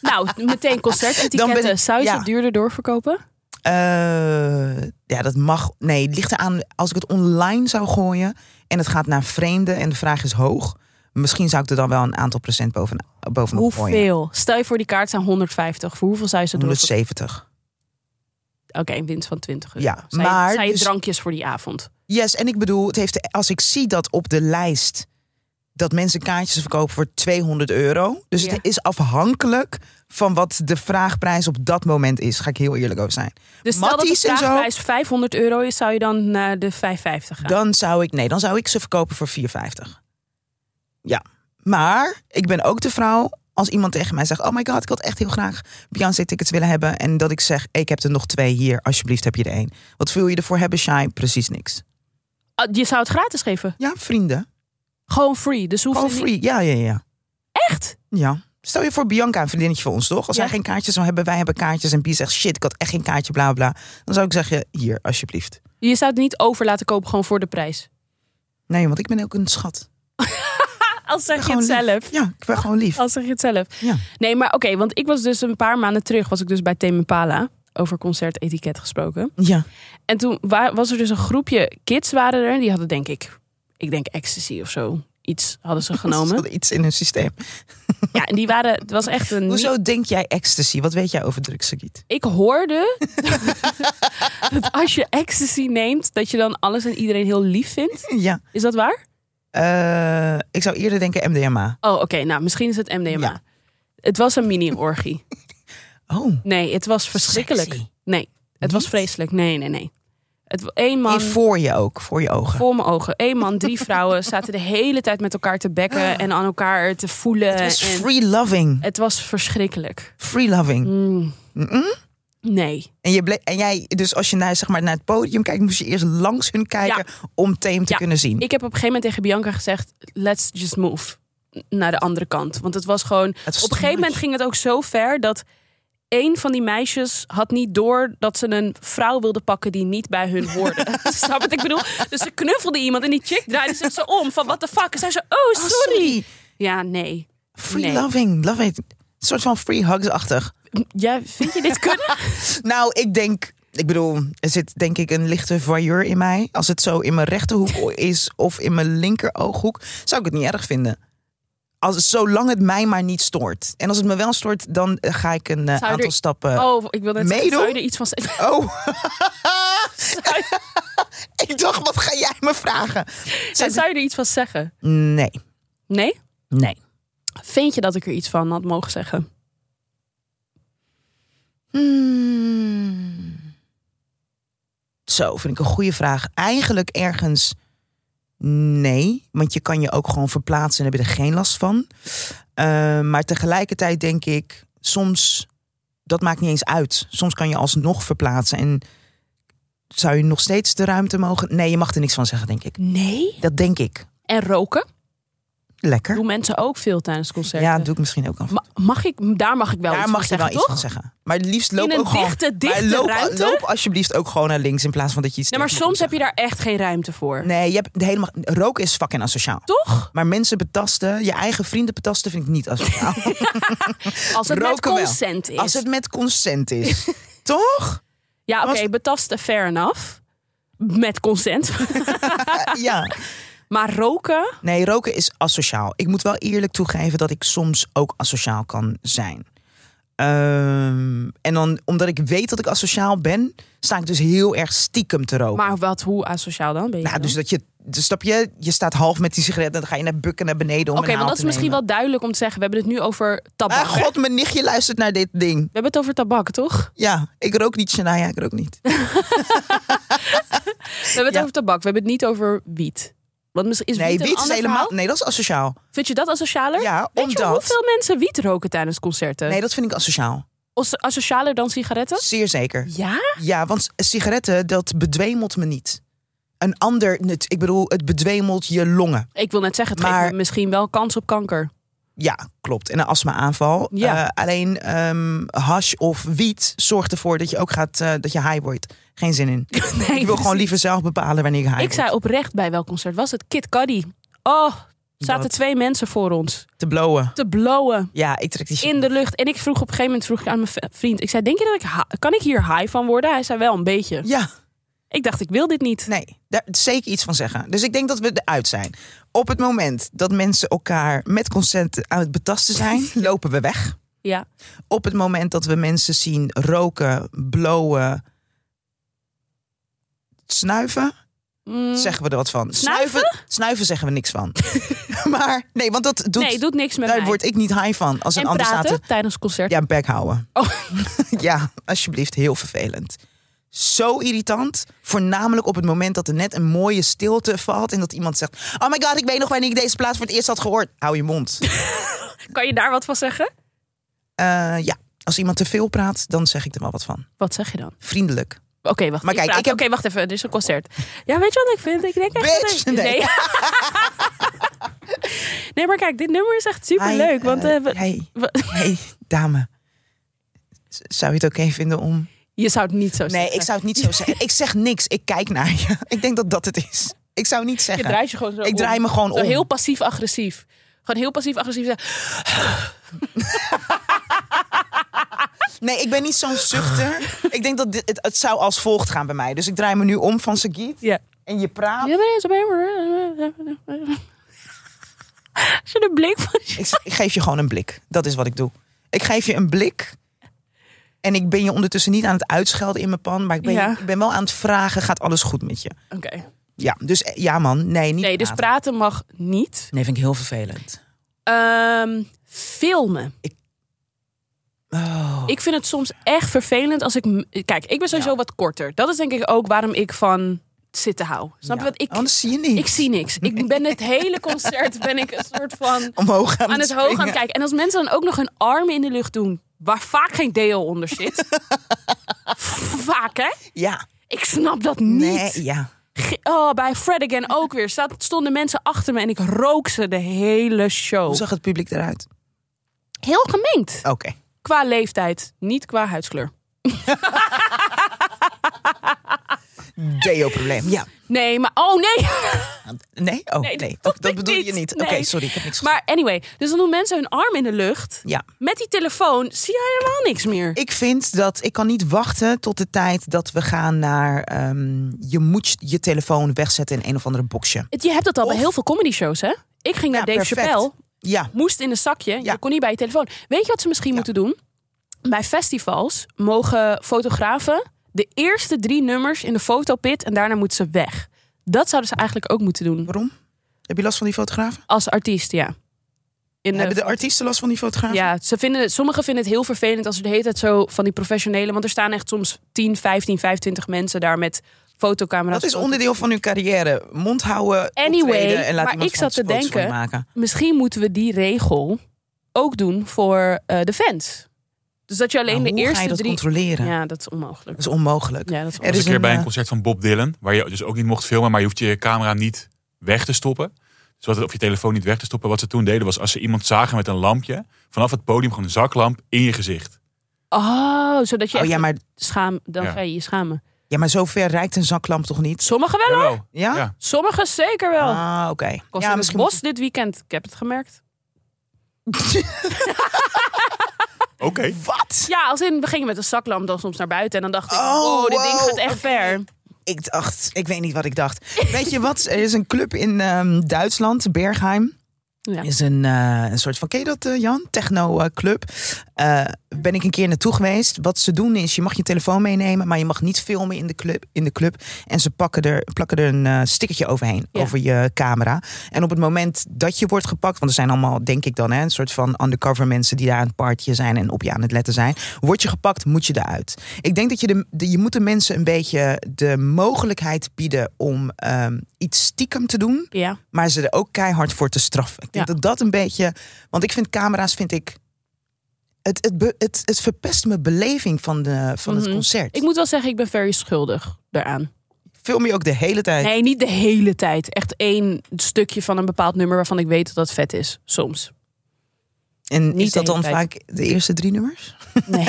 Speaker 1: nou, meteen
Speaker 2: Dan
Speaker 1: concertetiketten.
Speaker 2: ben ik-
Speaker 1: Zou je
Speaker 2: ja.
Speaker 1: ze duurder doorverkopen?
Speaker 2: Eh, ja, dat mag. Nee, het ligt eraan. Als ik het online zou gooien en het gaat naar vreemden en de vraag is hoog, misschien zou ik er dan wel een aantal procent boven, bovenop gooien.
Speaker 1: Hoeveel? Stel je voor die kaart zijn 150. Voor hoeveel zou je ze doorverkopen?
Speaker 2: 170.
Speaker 1: Oké, een winst van 20 euro.
Speaker 2: Ja,
Speaker 1: Zijn-
Speaker 2: maar
Speaker 1: Zijn je
Speaker 2: dus-
Speaker 1: drankjes voor die avond?
Speaker 2: Yes, en ik bedoel, het heeft, als ik zie dat op de lijst dat mensen kaartjes verkopen voor 200 euro. Dus
Speaker 1: Ja.
Speaker 2: het is afhankelijk van wat de vraagprijs op dat moment is. Ga ik heel eerlijk over zijn.
Speaker 1: Dus stel dat de
Speaker 2: Matties en zo,
Speaker 1: vraagprijs 500 euro is, zou je dan naar de 550 gaan?
Speaker 2: Dan zou ik, nee, dan zou ik ze verkopen voor 4,50. Ja. Maar ik ben ook de vrouw als iemand tegen mij zegt: Oh my god, ik had echt heel graag Beyoncé-tickets willen hebben. En dat ik zeg: Ik heb er nog twee hier, alsjeblieft heb je er één. Wat wil je ervoor hebben, Shai? Precies niks.
Speaker 1: Ah, Je zou het gratis geven.
Speaker 2: Ja, vrienden.
Speaker 1: Gewoon free. Dus hoeft
Speaker 2: Gewoon
Speaker 1: het niet-
Speaker 2: free. Ja, ja, ja.
Speaker 1: Echt?
Speaker 2: ja. Stel je voor Bianca, een vriendinnetje van ons, toch? Als
Speaker 1: Ja.
Speaker 2: zij geen kaartjes zou hebben, wij hebben kaartjes. En Bie zegt: Shit, ik had echt geen kaartje, bla bla. bla. Dan zou ik zeggen: Hier, alsjeblieft.
Speaker 1: Je zou het niet over laten kopen gewoon voor de prijs.
Speaker 2: Nee, want ik ben ook een schat.
Speaker 1: Als zeg je
Speaker 2: Gewoon
Speaker 1: het
Speaker 2: lief.
Speaker 1: zelf.
Speaker 2: Ja, ik ben gewoon lief.
Speaker 1: Als zeg je het zelf.
Speaker 2: Ja.
Speaker 1: Nee, maar oké, want ik was dus een paar maanden terug, was ik dus bij Tame Impala over concertetiket gesproken.
Speaker 2: Ja.
Speaker 1: En toen wa- was er dus een groepje kids waren er. Die hadden denk ik, ik denk ecstasy of zo. Iets hadden ze
Speaker 2: Ze
Speaker 1: genomen.
Speaker 2: hadden iets in hun systeem.
Speaker 1: Ja, en die waren, het was echt een...
Speaker 2: Hoezo denk jij ecstasy? Wat weet jij over drugsgebied?
Speaker 1: ik hoorde dat als je ecstasy neemt, dat je dan alles en iedereen heel lief vindt.
Speaker 2: Ja.
Speaker 1: Is dat waar?
Speaker 2: Eh, ik zou eerder denken MDMA.
Speaker 1: Oh, oké. nou, misschien is het MDMA.
Speaker 2: Ja.
Speaker 1: Het was een mini-orgie.
Speaker 2: Oh.
Speaker 1: Nee, het was verschrikkelijk.
Speaker 2: Sexy.
Speaker 1: Nee, het was
Speaker 2: Niet?
Speaker 1: vreselijk. Nee, nee, nee. Het, één man...
Speaker 2: En voor je ook, voor je ogen.
Speaker 1: Voor mijn ogen. Eén man, drie vrouwen zaten de hele tijd met elkaar te bekken en aan elkaar te voelen.
Speaker 2: Ah. Het was
Speaker 1: en Eh.
Speaker 2: free loving.
Speaker 1: het was verschrikkelijk.
Speaker 2: Free loving.
Speaker 1: Mm. Nee.
Speaker 2: En, je ble- en jij, dus als je naar, zeg maar, naar het podium kijkt, moest je eerst langs hun kijken om Tame te
Speaker 1: Ja.
Speaker 2: kunnen zien.
Speaker 1: Ik heb op een gegeven moment tegen Bianca gezegd: let's just move naar de andere kant. Want het was gewoon.
Speaker 2: was
Speaker 1: op een
Speaker 2: too
Speaker 1: gegeven moment
Speaker 2: much.
Speaker 1: ging het ook zo ver dat. Een van die meisjes had niet door dat ze een vrouw wilde pakken die niet bij hun hoorde. Snap wat ik bedoel? Dus ze knuffelde iemand en die chick draaide zich zo om van what the fuck. En zei ze, oh
Speaker 2: Oh,
Speaker 1: sorry.
Speaker 2: sorry.
Speaker 1: Ja, nee.
Speaker 2: Free
Speaker 1: Nee.
Speaker 2: loving. Love it. Een soort van free hugs-achtig.
Speaker 1: Ja, vind je dit kunnen?
Speaker 2: Nou, ik denk, ik bedoel, er zit denk ik een lichte voyeur in mij. Als het zo in mijn rechterhoek is of in mijn linker ooghoek, zou ik het niet erg vinden. Als, zolang het mij maar niet stoort. En als het me wel stoort, dan eh, ga ik een eh,
Speaker 1: Zou je
Speaker 2: aantal
Speaker 1: er-
Speaker 2: stappen.
Speaker 1: Oh, ik wil net zeggen,
Speaker 2: Meedoen?
Speaker 1: zou je er iets van zeggen?
Speaker 2: Oh. ik dacht, wat ga jij me vragen? Zij-
Speaker 1: Zou je er iets van zeggen?
Speaker 2: Nee,
Speaker 1: Nee?
Speaker 2: nee.
Speaker 1: Vind je dat ik er iets van had mogen zeggen?
Speaker 2: Zo, vind ik een goede vraag. Eigenlijk ergens nee, want je kan je ook gewoon verplaatsen en heb je er geen last van. Eh, maar tegelijkertijd denk ik, soms, dat maakt niet eens uit. Soms kan je alsnog verplaatsen en zou je nog steeds de ruimte mogen? Nee, je mag er niks van zeggen, denk ik.
Speaker 1: Nee.
Speaker 2: Dat denk ik.
Speaker 1: En roken?
Speaker 2: Lekker.
Speaker 1: Doen mensen ook veel tijdens concerten?
Speaker 2: Ja, doe ik misschien ook af.
Speaker 1: Ma- Mag ik, daar mag ik wel
Speaker 2: Daar
Speaker 1: iets
Speaker 2: mag
Speaker 1: van
Speaker 2: je
Speaker 1: zeggen,
Speaker 2: wel iets
Speaker 1: toch?
Speaker 2: van zeggen. Maar het liefst loop
Speaker 1: In een
Speaker 2: ook gewoon...
Speaker 1: dichte,
Speaker 2: maar
Speaker 1: dichte
Speaker 2: loop,
Speaker 1: ruimte?
Speaker 2: loop alsjeblieft ook gewoon naar links in plaats van dat je iets
Speaker 1: Nee, maar
Speaker 2: tegen me
Speaker 1: soms heb
Speaker 2: moet
Speaker 1: je daar echt geen ruimte voor.
Speaker 2: zeggen. Nee, je hebt helemaal... Roken is fucking asociaal.
Speaker 1: Toch?
Speaker 2: Maar mensen betasten, je eigen vrienden betasten vind ik niet asociaal.
Speaker 1: Als het
Speaker 2: Roken
Speaker 1: met
Speaker 2: wel.
Speaker 1: consent is.
Speaker 2: Als het met consent is. Toch?
Speaker 1: Ja, oké,
Speaker 2: Was-
Speaker 1: betasten, fair enough. Met consent.
Speaker 2: Eh, ja.
Speaker 1: maar roken,
Speaker 2: Nee, roken is asociaal. Ik moet wel eerlijk toegeven dat ik soms ook asociaal kan zijn. Ehm, en dan, omdat ik weet dat ik asociaal ben, sta ik dus heel erg stiekem te roken.
Speaker 1: maar wat, hoe asociaal dan ben je
Speaker 2: nou,
Speaker 1: dan?
Speaker 2: dus dat je, dus snap je, je staat half met die sigaret en dan ga je naar bukken naar beneden
Speaker 1: Oké,
Speaker 2: om een
Speaker 1: want dat
Speaker 2: naald
Speaker 1: is
Speaker 2: te
Speaker 1: misschien
Speaker 2: nemen.
Speaker 1: wel duidelijk om te zeggen. We hebben het nu over tabak.
Speaker 2: Ah, god, mijn nichtje luistert naar dit ding.
Speaker 1: We hebben het over tabak, toch?
Speaker 2: Ja, ik rook niet, Shania, ik rook niet.
Speaker 1: We hebben het
Speaker 2: Ja.
Speaker 1: over tabak. We hebben het niet over wiet. Want misschien is
Speaker 2: Nee,
Speaker 1: wiet,
Speaker 2: wiet
Speaker 1: een
Speaker 2: is
Speaker 1: ander
Speaker 2: helemaal...
Speaker 1: verhaal?
Speaker 2: Nee, dat is asociaal.
Speaker 1: Vind je dat asocialer?
Speaker 2: Ja,
Speaker 1: Weet je
Speaker 2: omdat-
Speaker 1: hoeveel mensen wiet roken tijdens concerten?
Speaker 2: Nee, dat vind ik asociaal.
Speaker 1: As- Asocialer dan sigaretten?
Speaker 2: Zeer zeker.
Speaker 1: Ja?
Speaker 2: Ja, want sigaretten, dat bedwemelt me niet. Een ander, het- ik bedoel, het bedwemelt je longen.
Speaker 1: Ik wil net zeggen, het
Speaker 2: Maar-
Speaker 1: geeft me misschien wel kans op kanker.
Speaker 2: Ja, klopt. En een astma-aanval.
Speaker 1: Ja.
Speaker 2: Eh, alleen ehm hash of wiet zorgt ervoor dat je ook gaat, eh, dat je high wordt. Geen zin in.
Speaker 1: Nee,
Speaker 2: ik wil gewoon
Speaker 1: precies.
Speaker 2: liever zelf bepalen wanneer ik high
Speaker 1: Ik
Speaker 2: word.
Speaker 1: zei oprecht bij welk concert was het? Kid Cudi. Oh, zaten
Speaker 2: Wat?
Speaker 1: twee mensen voor ons
Speaker 2: Te blowen.
Speaker 1: te blowen
Speaker 2: Ja, ik trek die shit.
Speaker 1: in de lucht. En ik vroeg op een gegeven moment vroeg ik aan mijn v- vriend. Ik zei, denk je dat ik ha- kan ik hier high van worden? Hij zei wel een beetje.
Speaker 2: Ja,
Speaker 1: Ik dacht, ik wil dit niet.
Speaker 2: nee. Daar zeker iets van zeggen. Dus ik denk dat we eruit zijn. Op het moment dat mensen elkaar met consent aan het betasten zijn, lopen we weg.
Speaker 1: Ja.
Speaker 2: Op het moment dat we mensen zien roken, blowen, snuiven,
Speaker 1: Mm,
Speaker 2: zeggen we er wat van.
Speaker 1: Snuiven?
Speaker 2: Snuiven, snuiven zeggen we niks van. maar nee, want dat doet,
Speaker 1: nee, doet niks met
Speaker 2: daar
Speaker 1: mij.
Speaker 2: word ik niet high van als een
Speaker 1: en
Speaker 2: ander
Speaker 1: praten
Speaker 2: staat te-
Speaker 1: tijdens concerten.
Speaker 2: ja, een bek houden.
Speaker 1: Oh,
Speaker 2: ja, alsjeblieft, heel vervelend. Zo irritant, voornamelijk op het moment dat er net een mooie stilte valt en dat iemand zegt: "Oh my god, ik weet nog wanneer ik deze plaats voor het eerst had gehoord." Hou je mond.
Speaker 1: kan je daar wat van zeggen?
Speaker 2: Eh, ja, als iemand te veel praat, dan zeg ik er wel wat van.
Speaker 1: Wat zeg je dan?
Speaker 2: Vriendelijk.
Speaker 1: Oké, wacht.
Speaker 2: Maar
Speaker 1: ik
Speaker 2: kijk,
Speaker 1: praat.
Speaker 2: ik heb-
Speaker 1: Oké, wacht even. Er is een concert. Ja, weet je wat ik vind? Ik denk echt
Speaker 2: Bitch!
Speaker 1: dat ik-
Speaker 2: Nee.
Speaker 1: Nee. Nee, maar kijk, dit nummer is echt super leuk.
Speaker 2: Hi,
Speaker 1: Want
Speaker 2: eh,
Speaker 1: eh, we-
Speaker 2: hey,
Speaker 1: we-
Speaker 2: hey, dame. Z- Zou je het oké vinden om.
Speaker 1: je zou het niet zo zeggen.
Speaker 2: Nee, ik zou het niet zo zeggen. Ik zeg niks. Ik kijk naar je. Ik denk dat dat het is. Ik zou niet
Speaker 1: Je
Speaker 2: zeggen.
Speaker 1: draait je gewoon zo
Speaker 2: Ik
Speaker 1: om.
Speaker 2: draai me gewoon
Speaker 1: Zo
Speaker 2: om.
Speaker 1: heel passief-agressief. Gewoon heel passief-agressief zeggen.
Speaker 2: Nee, ik ben niet zo'n zuchter. ik denk dat dit, het, het zou als volgt gaan bij mij. Dus ik draai me nu om van Sagit.
Speaker 1: Ja.
Speaker 2: En je praat.
Speaker 1: Ja, maar- Als je de blik van...
Speaker 2: Ik, z- ik geef je gewoon een blik. Dat is wat ik doe. Ik geef je een blik. En ik ben je ondertussen niet aan het uitschelden in mijn pan. Maar ik ben,
Speaker 1: Ja.
Speaker 2: ik ben wel aan het vragen. Gaat alles goed met je?
Speaker 1: Oké.
Speaker 2: Ja, dus eh, ja man. Nee, niet
Speaker 1: Nee, dus
Speaker 2: praten.
Speaker 1: praten mag niet.
Speaker 2: Nee, vind ik heel vervelend.
Speaker 1: Ehm, filmen.
Speaker 2: Oh.
Speaker 1: Ik vind het soms echt vervelend als ik... m- Kijk, ik ben sowieso wat korter. Dat is denk ik ook waarom ik van zitten hou. Snap je
Speaker 2: Ja,
Speaker 1: wat? Ik,
Speaker 2: anders zie je niks.
Speaker 1: ik zie niks. Ik ben het hele concert ben ik een soort van...
Speaker 2: omhoog aan,
Speaker 1: aan het hoog aan het
Speaker 2: springen.
Speaker 1: kijken. En als mensen dan ook nog hun armen in de lucht doen, waar vaak geen deel onder zit. vaak, hè?
Speaker 2: Ja.
Speaker 1: Ik snap dat niet.
Speaker 2: Nee, ja.
Speaker 1: Ge- Oh, bij Fred Again ook weer. Staat, stonden mensen achter me en ik rook ze de hele
Speaker 2: Hoe
Speaker 1: show.
Speaker 2: zag het publiek eruit?
Speaker 1: Heel gemengd.
Speaker 2: Oké.
Speaker 1: Qua leeftijd, niet qua huidskleur.
Speaker 2: Deo-probleem. Ja.
Speaker 1: Nee, maar... Oh, nee!
Speaker 2: Nee? Oh, nee.
Speaker 1: Nee, dat
Speaker 2: Oh,
Speaker 1: dacht
Speaker 2: Dat
Speaker 1: ik
Speaker 2: bedoel je
Speaker 1: niet.
Speaker 2: niet.
Speaker 1: Nee.
Speaker 2: Oké, sorry. Ik heb niks gezegd.
Speaker 1: Maar anyway, dus dan doen mensen hun arm in de lucht.
Speaker 2: Ja.
Speaker 1: Met die telefoon zie je helemaal niks meer.
Speaker 2: Ik vind dat ik kan niet wachten tot de tijd dat we gaan naar. ehm, je moet je telefoon wegzetten in een of andere boxje.
Speaker 1: Het- Je hebt dat al bij
Speaker 2: Of-
Speaker 1: heel veel comedy shows, hè? Ik ging naar
Speaker 2: Ja,
Speaker 1: Dave
Speaker 2: perfect.
Speaker 1: Chappelle.
Speaker 2: Ja.
Speaker 1: moest in een zakje.
Speaker 2: Ja.
Speaker 1: Je kon niet bij je telefoon. Weet je wat ze misschien moeten doen? Bij festivals mogen fotografen de eerste drie nummers in de fotopit en daarna moeten ze weg. Dat zouden ze eigenlijk ook moeten doen
Speaker 2: Waarom? Heb je last van die fotografen?
Speaker 1: als artiest, ja. In
Speaker 2: Hebben de artiesten last van die fotografen?
Speaker 1: ja, ze vinden het, sommigen vinden het heel vervelend als ze de hele tijd zo van die professionele, want er staan echt soms 10, 15, 25 mensen daar met fotocamera's.
Speaker 2: Dat is
Speaker 1: foto-
Speaker 2: onderdeel van hun carrière. Mond houden,
Speaker 1: Anyway,
Speaker 2: optreden en laat
Speaker 1: maar
Speaker 2: iemand
Speaker 1: ik zat te
Speaker 2: foto's van je
Speaker 1: denken-
Speaker 2: maken.
Speaker 1: misschien moeten we die regel ook doen voor eh, de fans. Dus dat je alleen
Speaker 2: Nou,
Speaker 1: de
Speaker 2: hoe
Speaker 1: eerste
Speaker 2: ga je dat
Speaker 1: drie.
Speaker 2: controleren?
Speaker 1: Ja, dat is onmogelijk.
Speaker 2: Dat is onmogelijk.
Speaker 1: Ja, dat is
Speaker 2: Er
Speaker 3: was
Speaker 2: is
Speaker 3: een keer bij
Speaker 2: eh,
Speaker 3: een concert van Bob Dylan, waar je dus ook niet mocht filmen, maar je hoeft je camera niet weg te stoppen. Dus wat, of je telefoon niet weg te stoppen. Wat ze toen deden was, als ze iemand zagen met een lampje, vanaf het podium gewoon een zaklamp in je gezicht.
Speaker 1: Oh, zodat je
Speaker 2: Oh
Speaker 1: echt
Speaker 2: ja, maar,
Speaker 1: schaam, dan
Speaker 3: Ja.
Speaker 1: ga je je schamen.
Speaker 2: ja, maar zover reikt een zaklamp toch niet?
Speaker 1: Sommigen wel hoor.
Speaker 3: Jawel.
Speaker 2: Ja?
Speaker 3: Ja.
Speaker 1: Sommigen zeker wel. Ik
Speaker 2: Ah, oké.
Speaker 1: was
Speaker 2: Ja,
Speaker 1: in het
Speaker 2: misschien
Speaker 1: bos dit weekend. Ik heb het gemerkt.
Speaker 3: Oké.
Speaker 2: Wat?
Speaker 1: Ja, als in, we gingen met een zaklamp dan soms naar buiten. En dan dacht ik,
Speaker 2: Oh,
Speaker 1: wow, dit ding
Speaker 2: wow,
Speaker 1: gaat echt ver.
Speaker 2: Ik dacht, ik weet niet wat ik dacht. Weet je wat? Er is een club in ehm, Duitsland, Bergheim.
Speaker 1: Ja.
Speaker 2: Is een, eh, een soort van, ken je dat eh, Jan? Techno-club. ben ik een keer naartoe geweest. Wat ze doen is, je mag je telefoon meenemen, maar je mag niet filmen in de club. In de club. En ze pakken er, plakken er een eh, stickertje overheen,
Speaker 1: Ja.
Speaker 2: over je camera. En op het moment dat je wordt gepakt, want er zijn allemaal, denk ik dan, hè, een soort van undercover mensen die daar aan het partje zijn en op je aan het letten zijn. Word je gepakt, moet je eruit. Ik denk dat je, de, de- je moet de mensen een beetje de mogelijkheid bieden om ehm, iets stiekem te doen
Speaker 1: ja.
Speaker 2: maar ze er ook keihard voor te straffen. Ik denk
Speaker 1: Ja.
Speaker 2: dat dat een beetje. Want ik vind camera's, vind ik. Het, het, be- het, het verpest mijn beleving van, de, van het
Speaker 1: Mhm.
Speaker 2: concert.
Speaker 1: Ik moet wel zeggen, ik ben very schuldig daaraan.
Speaker 2: Film je ook de hele tijd.
Speaker 1: Nee, niet de hele tijd. Echt één stukje van een bepaald nummer waarvan ik weet dat dat vet is. Soms.
Speaker 2: en
Speaker 1: niet
Speaker 2: is
Speaker 1: de
Speaker 2: dat dan
Speaker 1: hele tijd.
Speaker 2: vaak de eerste drie nummers?
Speaker 1: Nee,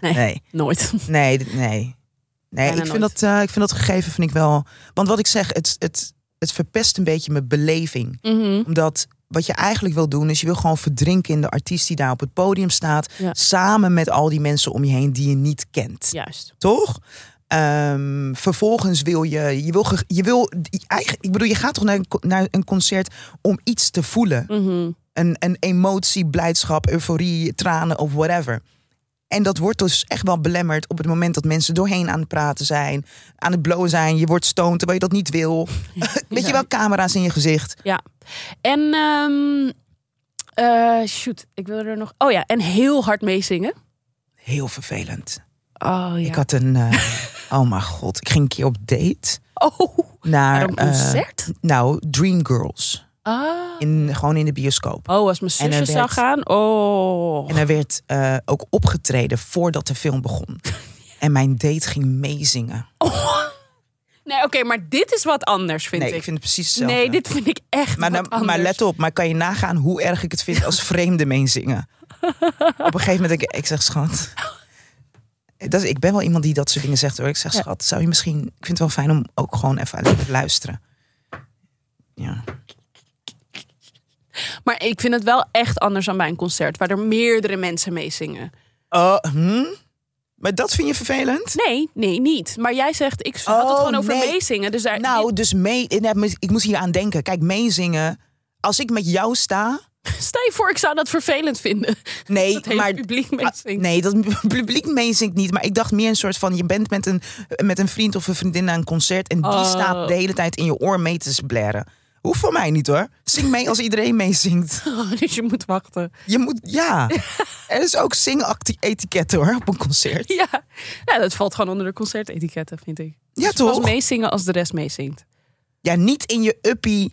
Speaker 1: Nee.
Speaker 2: Nee.
Speaker 1: nooit.
Speaker 2: Nee, d- nee. Nee,
Speaker 1: Bijna
Speaker 2: ik vind,
Speaker 1: nooit.
Speaker 2: dat, eh, ik vind dat gegeven vind ik wel. Want wat ik zeg, het, het, het verpest een beetje mijn beleving.
Speaker 1: Mhm.
Speaker 2: Omdat wat je eigenlijk wil doen, is je wil gewoon verdrinken in de artiest die daar op het podium staat.
Speaker 1: Ja.
Speaker 2: Samen met al die mensen om je heen die je niet kent.
Speaker 1: Juist.
Speaker 2: toch? Ehm, vervolgens wil je, je wil, ge- je wil, je eigen- ik bedoel, je gaat toch naar een, co- naar een concert om iets te voelen.
Speaker 1: Mhm.
Speaker 2: Een, een emotie, blijdschap, euforie, tranen of whatever. En dat wordt dus echt wel belemmerd op het moment dat mensen doorheen aan het praten zijn, aan het blowen zijn. Je wordt stoned terwijl je dat niet wil. Weet je wel, camera's in je gezicht.
Speaker 1: Ja. En, ehm, eh, shoot, ik wil er nog... Oh ja, en heel hard meezingen.
Speaker 2: Heel vervelend.
Speaker 1: Oh ja.
Speaker 2: Ik had een, eh, oh mijn god, ik ging een keer op date
Speaker 1: Oh,
Speaker 2: naar
Speaker 1: een
Speaker 2: eh,
Speaker 1: concert?
Speaker 2: nou, Dreamgirls.
Speaker 1: ah.
Speaker 2: In, gewoon in de bioscoop.
Speaker 1: Oh, als mijn
Speaker 2: En
Speaker 1: zusje
Speaker 2: er
Speaker 1: zou
Speaker 2: werd-
Speaker 1: gaan. Oh.
Speaker 2: En er werd eh, ook opgetreden voordat de film begon. En mijn date ging meezingen.
Speaker 1: Oh, Nee, oké, maar dit is wat anders, vind
Speaker 2: nee,
Speaker 1: ik.
Speaker 2: ik vind het precies hetzelfde.
Speaker 1: nee, dit vind ik echt
Speaker 2: maar,
Speaker 1: wat
Speaker 2: dan-
Speaker 1: anders.
Speaker 2: maar let op, maar kan je nagaan hoe erg ik het vind als vreemden meezingen? op een gegeven moment denk ik, ik zeg schat. Dat, is- ik ben wel iemand die dat soort dingen zegt hoor. Ik zeg
Speaker 1: Ja.
Speaker 2: schat, zou je misschien... Ik vind het wel fijn om ook gewoon even alleen te luisteren. Ja.
Speaker 1: Maar ik vind het wel echt anders dan bij een concert... waar er meerdere mensen meezingen.
Speaker 2: Oh, hm? Maar dat vind je vervelend?
Speaker 1: Nee, nee, niet. Maar jij zegt, ik had het
Speaker 2: Oh,
Speaker 1: gewoon over
Speaker 2: nee.
Speaker 1: meezingen. Dus daar,
Speaker 2: Nou, dus mee... Ik moest hier aan denken. Kijk, meezingen... Als ik met jou sta...
Speaker 1: stel je voor, ik zou dat vervelend vinden.
Speaker 2: Nee,
Speaker 1: Dat hele
Speaker 2: maar
Speaker 1: publiek meezingt.
Speaker 2: Ah, nee, dat publiek meezingt niet. Maar ik dacht meer een soort van: je bent met een, met een vriend of een vriendin naar een concert. en die
Speaker 1: Oh.
Speaker 2: staat de hele tijd in je oor mee te blaren. Hoeft voor mij niet hoor. Zing mee als iedereen meezingt.
Speaker 1: dus je moet wachten.
Speaker 2: Nou, Je moet, ja. Er is ook zing-etiket hoor op een concert.
Speaker 1: Ja. ja, dat valt gewoon onder de concertetiketten, vind ik.
Speaker 2: Ja,
Speaker 1: Pas
Speaker 2: toch?
Speaker 1: meezingen als de rest meezingt.
Speaker 2: Ja, niet in je uppie.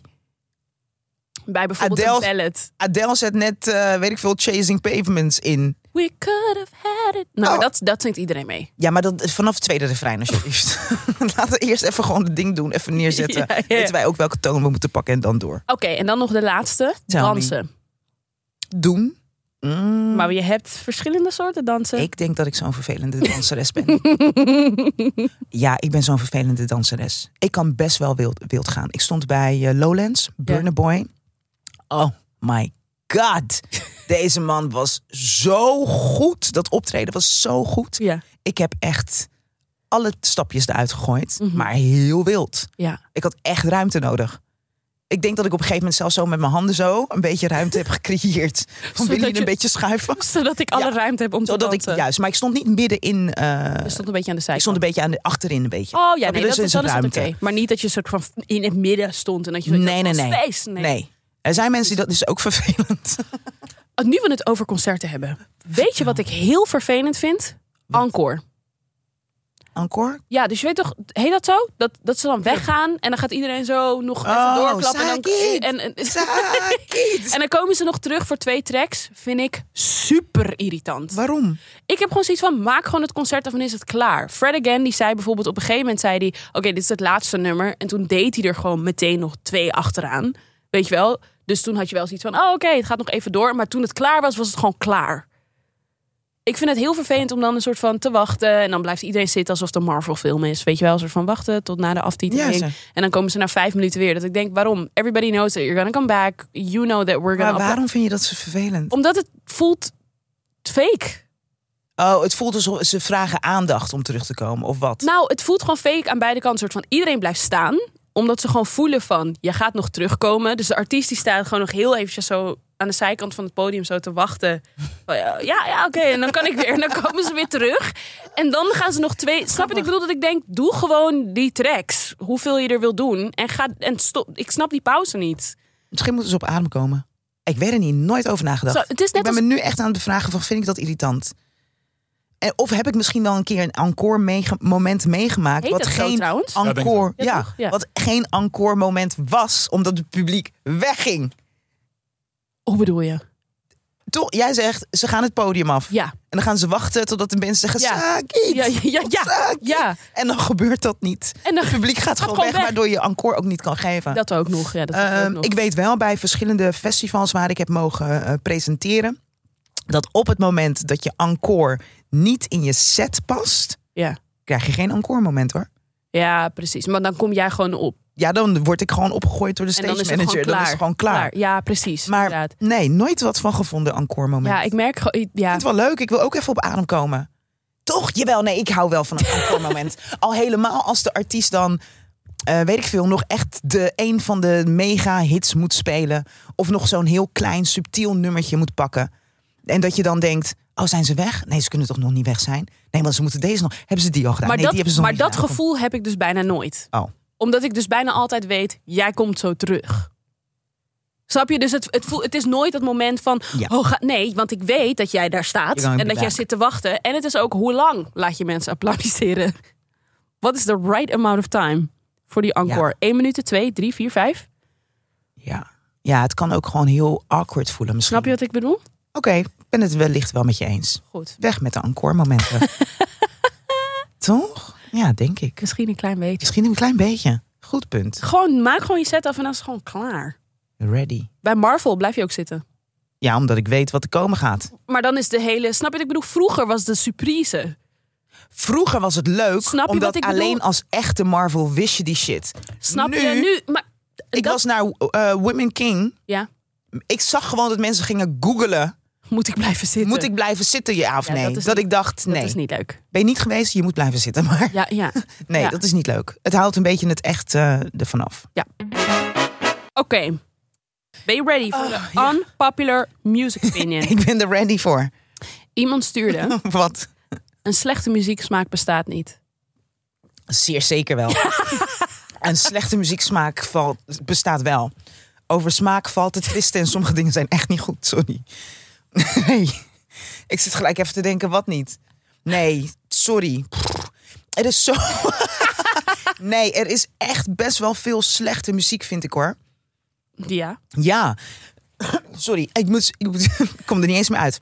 Speaker 1: Bij bijvoorbeeld
Speaker 2: Adele-
Speaker 1: een ballad.
Speaker 2: Adele zet net, eh, weet ik veel, Chasing Pavements in.
Speaker 1: We could have had it. Nou,
Speaker 2: Oh.
Speaker 1: dat, dat zingt iedereen mee.
Speaker 2: Ja, maar dat, vanaf het tweede refrein alsjeblieft. Laten we eerst even gewoon het ding doen, even neerzetten.
Speaker 1: Ja, ja.
Speaker 2: Weten wij ook welke toon we moeten pakken en dan door.
Speaker 1: Oké, en dan nog de laatste.
Speaker 2: Tell me.
Speaker 1: dansen.
Speaker 2: Doen. Mm.
Speaker 1: Maar je hebt verschillende soorten dansen.
Speaker 2: Ik denk dat ik zo'n vervelende danseres ben. ja, ik ben zo'n vervelende danseres. Ik kan best wel wild, wild gaan. Ik stond bij eh, Lowlands, Burner Boy. Oh my god. Deze man was zo goed. Dat optreden was zo goed.
Speaker 1: Ja.
Speaker 2: Ik heb echt alle stapjes eruit gegooid.
Speaker 1: Mhm.
Speaker 2: Maar heel wild.
Speaker 1: Ja.
Speaker 2: Ik had echt ruimte nodig. Ik denk dat ik op een gegeven moment zelfs zo met mijn handen zo een beetje ruimte heb gecreëerd. Van
Speaker 1: Zodat
Speaker 2: wil je een
Speaker 1: je-
Speaker 2: beetje schuiven?
Speaker 1: Zodat ik alle
Speaker 2: Ja.
Speaker 1: ruimte heb om te
Speaker 2: Zodat ik,
Speaker 1: dansen.
Speaker 2: juist, maar ik stond niet midden in. eh,
Speaker 1: Je stond een beetje aan de
Speaker 2: ik
Speaker 1: zijkant.
Speaker 2: stond een beetje aan de, achterin een beetje.
Speaker 1: Oh ja,
Speaker 2: Snap
Speaker 1: nee,
Speaker 2: je? Dus
Speaker 1: dat,
Speaker 2: er
Speaker 1: is, dan is dat oké. Dus
Speaker 2: ruimte.
Speaker 1: Maar niet dat je soort van in het midden stond en dat je zo
Speaker 2: Nee, nee, nee.
Speaker 1: Space,
Speaker 2: nee. Er zijn mensen die dat is ook vervelend.
Speaker 1: Oh, Nu we het over concerten hebben. Weet je wat ik heel vervelend vind? Encore.
Speaker 2: Encore?
Speaker 1: Ja, dus je weet toch, heet dat zo? Dat, dat ze dan weggaan en dan gaat iedereen zo nog even
Speaker 2: Oh,
Speaker 1: doorklappen. En
Speaker 2: Sakit!
Speaker 1: dan, en, en,
Speaker 2: Sakit!
Speaker 1: en dan komen ze nog terug voor twee tracks. Vind ik super irritant.
Speaker 2: Waarom?
Speaker 1: Ik heb gewoon zoiets van, maak gewoon het concert af en is het klaar. Fred Again, die zei bijvoorbeeld op een gegeven moment, zei hij... Oké, dit is het laatste nummer. En toen deed hij er gewoon meteen nog twee achteraan. Weet je wel? Dus toen had je wel zoiets van, oh oké, het gaat nog even door. Maar toen het klaar was, was het gewoon klaar. Ik vind het heel vervelend om dan een soort van te wachten. En dan blijft iedereen zitten alsof het een Marvel film is. Weet je wel, een soort van wachten tot na de aftiteling.
Speaker 2: Ja, ze.
Speaker 1: en dan komen ze na vijf minuten weer. Dat ik denk, waarom? Everybody knows that you're gonna come back. You know that we're gonna...
Speaker 2: Maar waarom vind je dat zo vervelend?
Speaker 1: Omdat het voelt het fake.
Speaker 2: Oh, het voelt alsof ze vragen aandacht om terug te komen, of wat?
Speaker 1: Nou, het voelt gewoon fake aan beide kanten. Soort van iedereen blijft staan. Omdat ze gewoon voelen van, je gaat nog terugkomen. Dus de artiest die staat gewoon nog heel eventjes zo aan de zijkant van het podium zo te wachten. Van, ja, ja, ja, oké, en dan kan ik weer. En dan komen ze weer terug. En dan gaan ze nog twee... Snap je? wat Ik bedoel dat ik denk, doe gewoon die tracks. Hoeveel je er wil doen. En, ga, en stop. Ik snap die pauze niet.
Speaker 2: Misschien moeten ze op adem komen. Ik weet er niet, nooit over nagedacht.
Speaker 1: Zo, het is net
Speaker 2: ik ben
Speaker 1: als-
Speaker 2: me nu echt aan het bevragen van, vind ik dat irritant? En, of heb ik misschien wel een keer een encore mege- moment meegemaakt...
Speaker 1: Heet
Speaker 2: wat,
Speaker 1: dat zo
Speaker 2: geen
Speaker 1: trouwens? Ja,
Speaker 3: denk ik
Speaker 2: encore,
Speaker 1: wel.
Speaker 2: ja,
Speaker 1: Ja, toch? Ja.
Speaker 2: wat geen encore moment was, omdat het publiek wegging.
Speaker 1: Hoe bedoel je?
Speaker 2: Toch, jij zegt, ze gaan het podium af.
Speaker 1: Ja.
Speaker 2: En dan gaan ze wachten totdat de mensen zeggen,
Speaker 1: Ja.
Speaker 2: "Saak it,
Speaker 1: Ja, ja, ja, ja,
Speaker 2: saak it."
Speaker 1: ja.
Speaker 2: En dan gebeurt dat niet.
Speaker 1: En dan-
Speaker 2: het publiek gaat, gewoon
Speaker 1: gewoon
Speaker 2: weg,
Speaker 1: weg.
Speaker 2: waardoor je encore ook niet kan geven.
Speaker 1: Dat ook nog. Ja, dat
Speaker 2: Ehm,
Speaker 1: ook nog.
Speaker 2: ik weet wel bij verschillende festivals waar ik heb mogen eh, presenteren. Dat op het moment dat je encore niet in je set past,
Speaker 1: ja.
Speaker 2: krijg je geen encore moment hoor.
Speaker 1: ja, precies. Maar dan kom jij gewoon op.
Speaker 2: Ja, dan word ik gewoon opgegooid door de
Speaker 1: En
Speaker 2: stage
Speaker 1: dan is het
Speaker 2: manager.
Speaker 1: gewoon
Speaker 2: dan
Speaker 1: klaar.
Speaker 2: is het gewoon klaar.
Speaker 1: Ja, precies.
Speaker 2: Maar
Speaker 1: inderdaad.
Speaker 2: nee, nooit wat van gevonden encore moment.
Speaker 1: Ja,
Speaker 2: ik
Speaker 1: ik merk gewoon. Ja.
Speaker 2: vind het wel leuk. Ik wil ook even op adem komen. Toch? Jawel, nee, ik hou wel van een encore moment. Al helemaal als de artiest dan, eh, weet ik veel, nog echt de, een van de mega hits moet spelen. Of nog zo'n heel klein subtiel nummertje moet pakken. En dat je dan denkt, oh zijn ze weg? Nee, ze kunnen toch nog niet weg zijn? Nee, want ze moeten deze nog. Hebben ze die al gedaan?
Speaker 1: Maar
Speaker 2: nee, die hebben
Speaker 1: dat,
Speaker 2: ze nog
Speaker 1: maar dat
Speaker 2: niet gedaan.
Speaker 1: gevoel heb ik dus bijna nooit.
Speaker 2: Oh.
Speaker 1: Omdat ik dus bijna altijd weet, jij komt zo terug. Snap je? Dus het, het, voel, het is nooit dat moment van,
Speaker 2: Ja.
Speaker 1: oh ga- nee, want ik weet dat jij daar staat.
Speaker 2: Ik hang
Speaker 1: En dat
Speaker 2: bedaak.
Speaker 1: jij zit te wachten. En het is ook, hoe lang laat je mensen applaudisseren? Wat is the right amount of time voor die encore? 1 minuut, 2, 3, 4, 5?
Speaker 2: Ja. ja, het kan ook gewoon heel awkward voelen misschien.
Speaker 1: Snap je wat ik bedoel?
Speaker 2: Oké, ik ben het wellicht wel met je eens.
Speaker 1: Goed.
Speaker 2: Weg met de encore momenten. Toch? Ja, denk ik.
Speaker 1: Misschien een klein beetje.
Speaker 2: Misschien een klein beetje. Goed punt.
Speaker 1: Gewoon, maak gewoon je set af en dan is het gewoon klaar.
Speaker 2: Ready.
Speaker 1: Bij Marvel blijf je ook zitten.
Speaker 2: Ja, omdat ik weet wat er komen gaat.
Speaker 1: Maar dan is de hele, snap je wat ik bedoel? Vroeger was de surprise.
Speaker 2: Vroeger was het leuk,
Speaker 1: Snap je wat
Speaker 2: omdat
Speaker 1: ik bedoel?
Speaker 2: alleen als echte Marvel wist je die shit.
Speaker 1: Snap je? Nu, maar
Speaker 2: Ik
Speaker 1: dat-
Speaker 2: was naar eh, Women King.
Speaker 1: Ja,
Speaker 2: Ik zag gewoon dat mensen gingen googelen.
Speaker 1: moet ik blijven zitten?
Speaker 2: Moet ik blijven zitten, ja of
Speaker 1: Ja,
Speaker 2: nee?
Speaker 1: dat
Speaker 2: Dat,
Speaker 1: is niet-
Speaker 2: ik dacht,
Speaker 1: Dat
Speaker 2: nee.
Speaker 1: is niet leuk.
Speaker 2: Ben je niet geweest? Je moet blijven zitten. Maar
Speaker 1: Ja, ja.
Speaker 2: nee,
Speaker 1: Ja.
Speaker 2: dat is niet leuk. Het houdt een beetje het echt eh, ervan af.
Speaker 1: Oké. Ben je ready voor de unpopular music opinion?
Speaker 2: Ah, Ik ben er ready voor.
Speaker 1: Iemand stuurde,
Speaker 2: Wat?
Speaker 1: een slechte muzieksmaak bestaat niet.
Speaker 2: Zeer zeker wel. een slechte muzieksmaak valt, bestaat wel. Over smaak valt te twisten en sommige dingen zijn echt niet goed, sorry. Nee, ik zit gelijk even te denken, wat niet? Nee, sorry. Pff, Er is zo... nee, er is echt best wel veel slechte muziek, vind ik hoor.
Speaker 1: Ja.
Speaker 2: Ja. Sorry, ik, moet, ik, moet, ik kom er niet eens meer uit.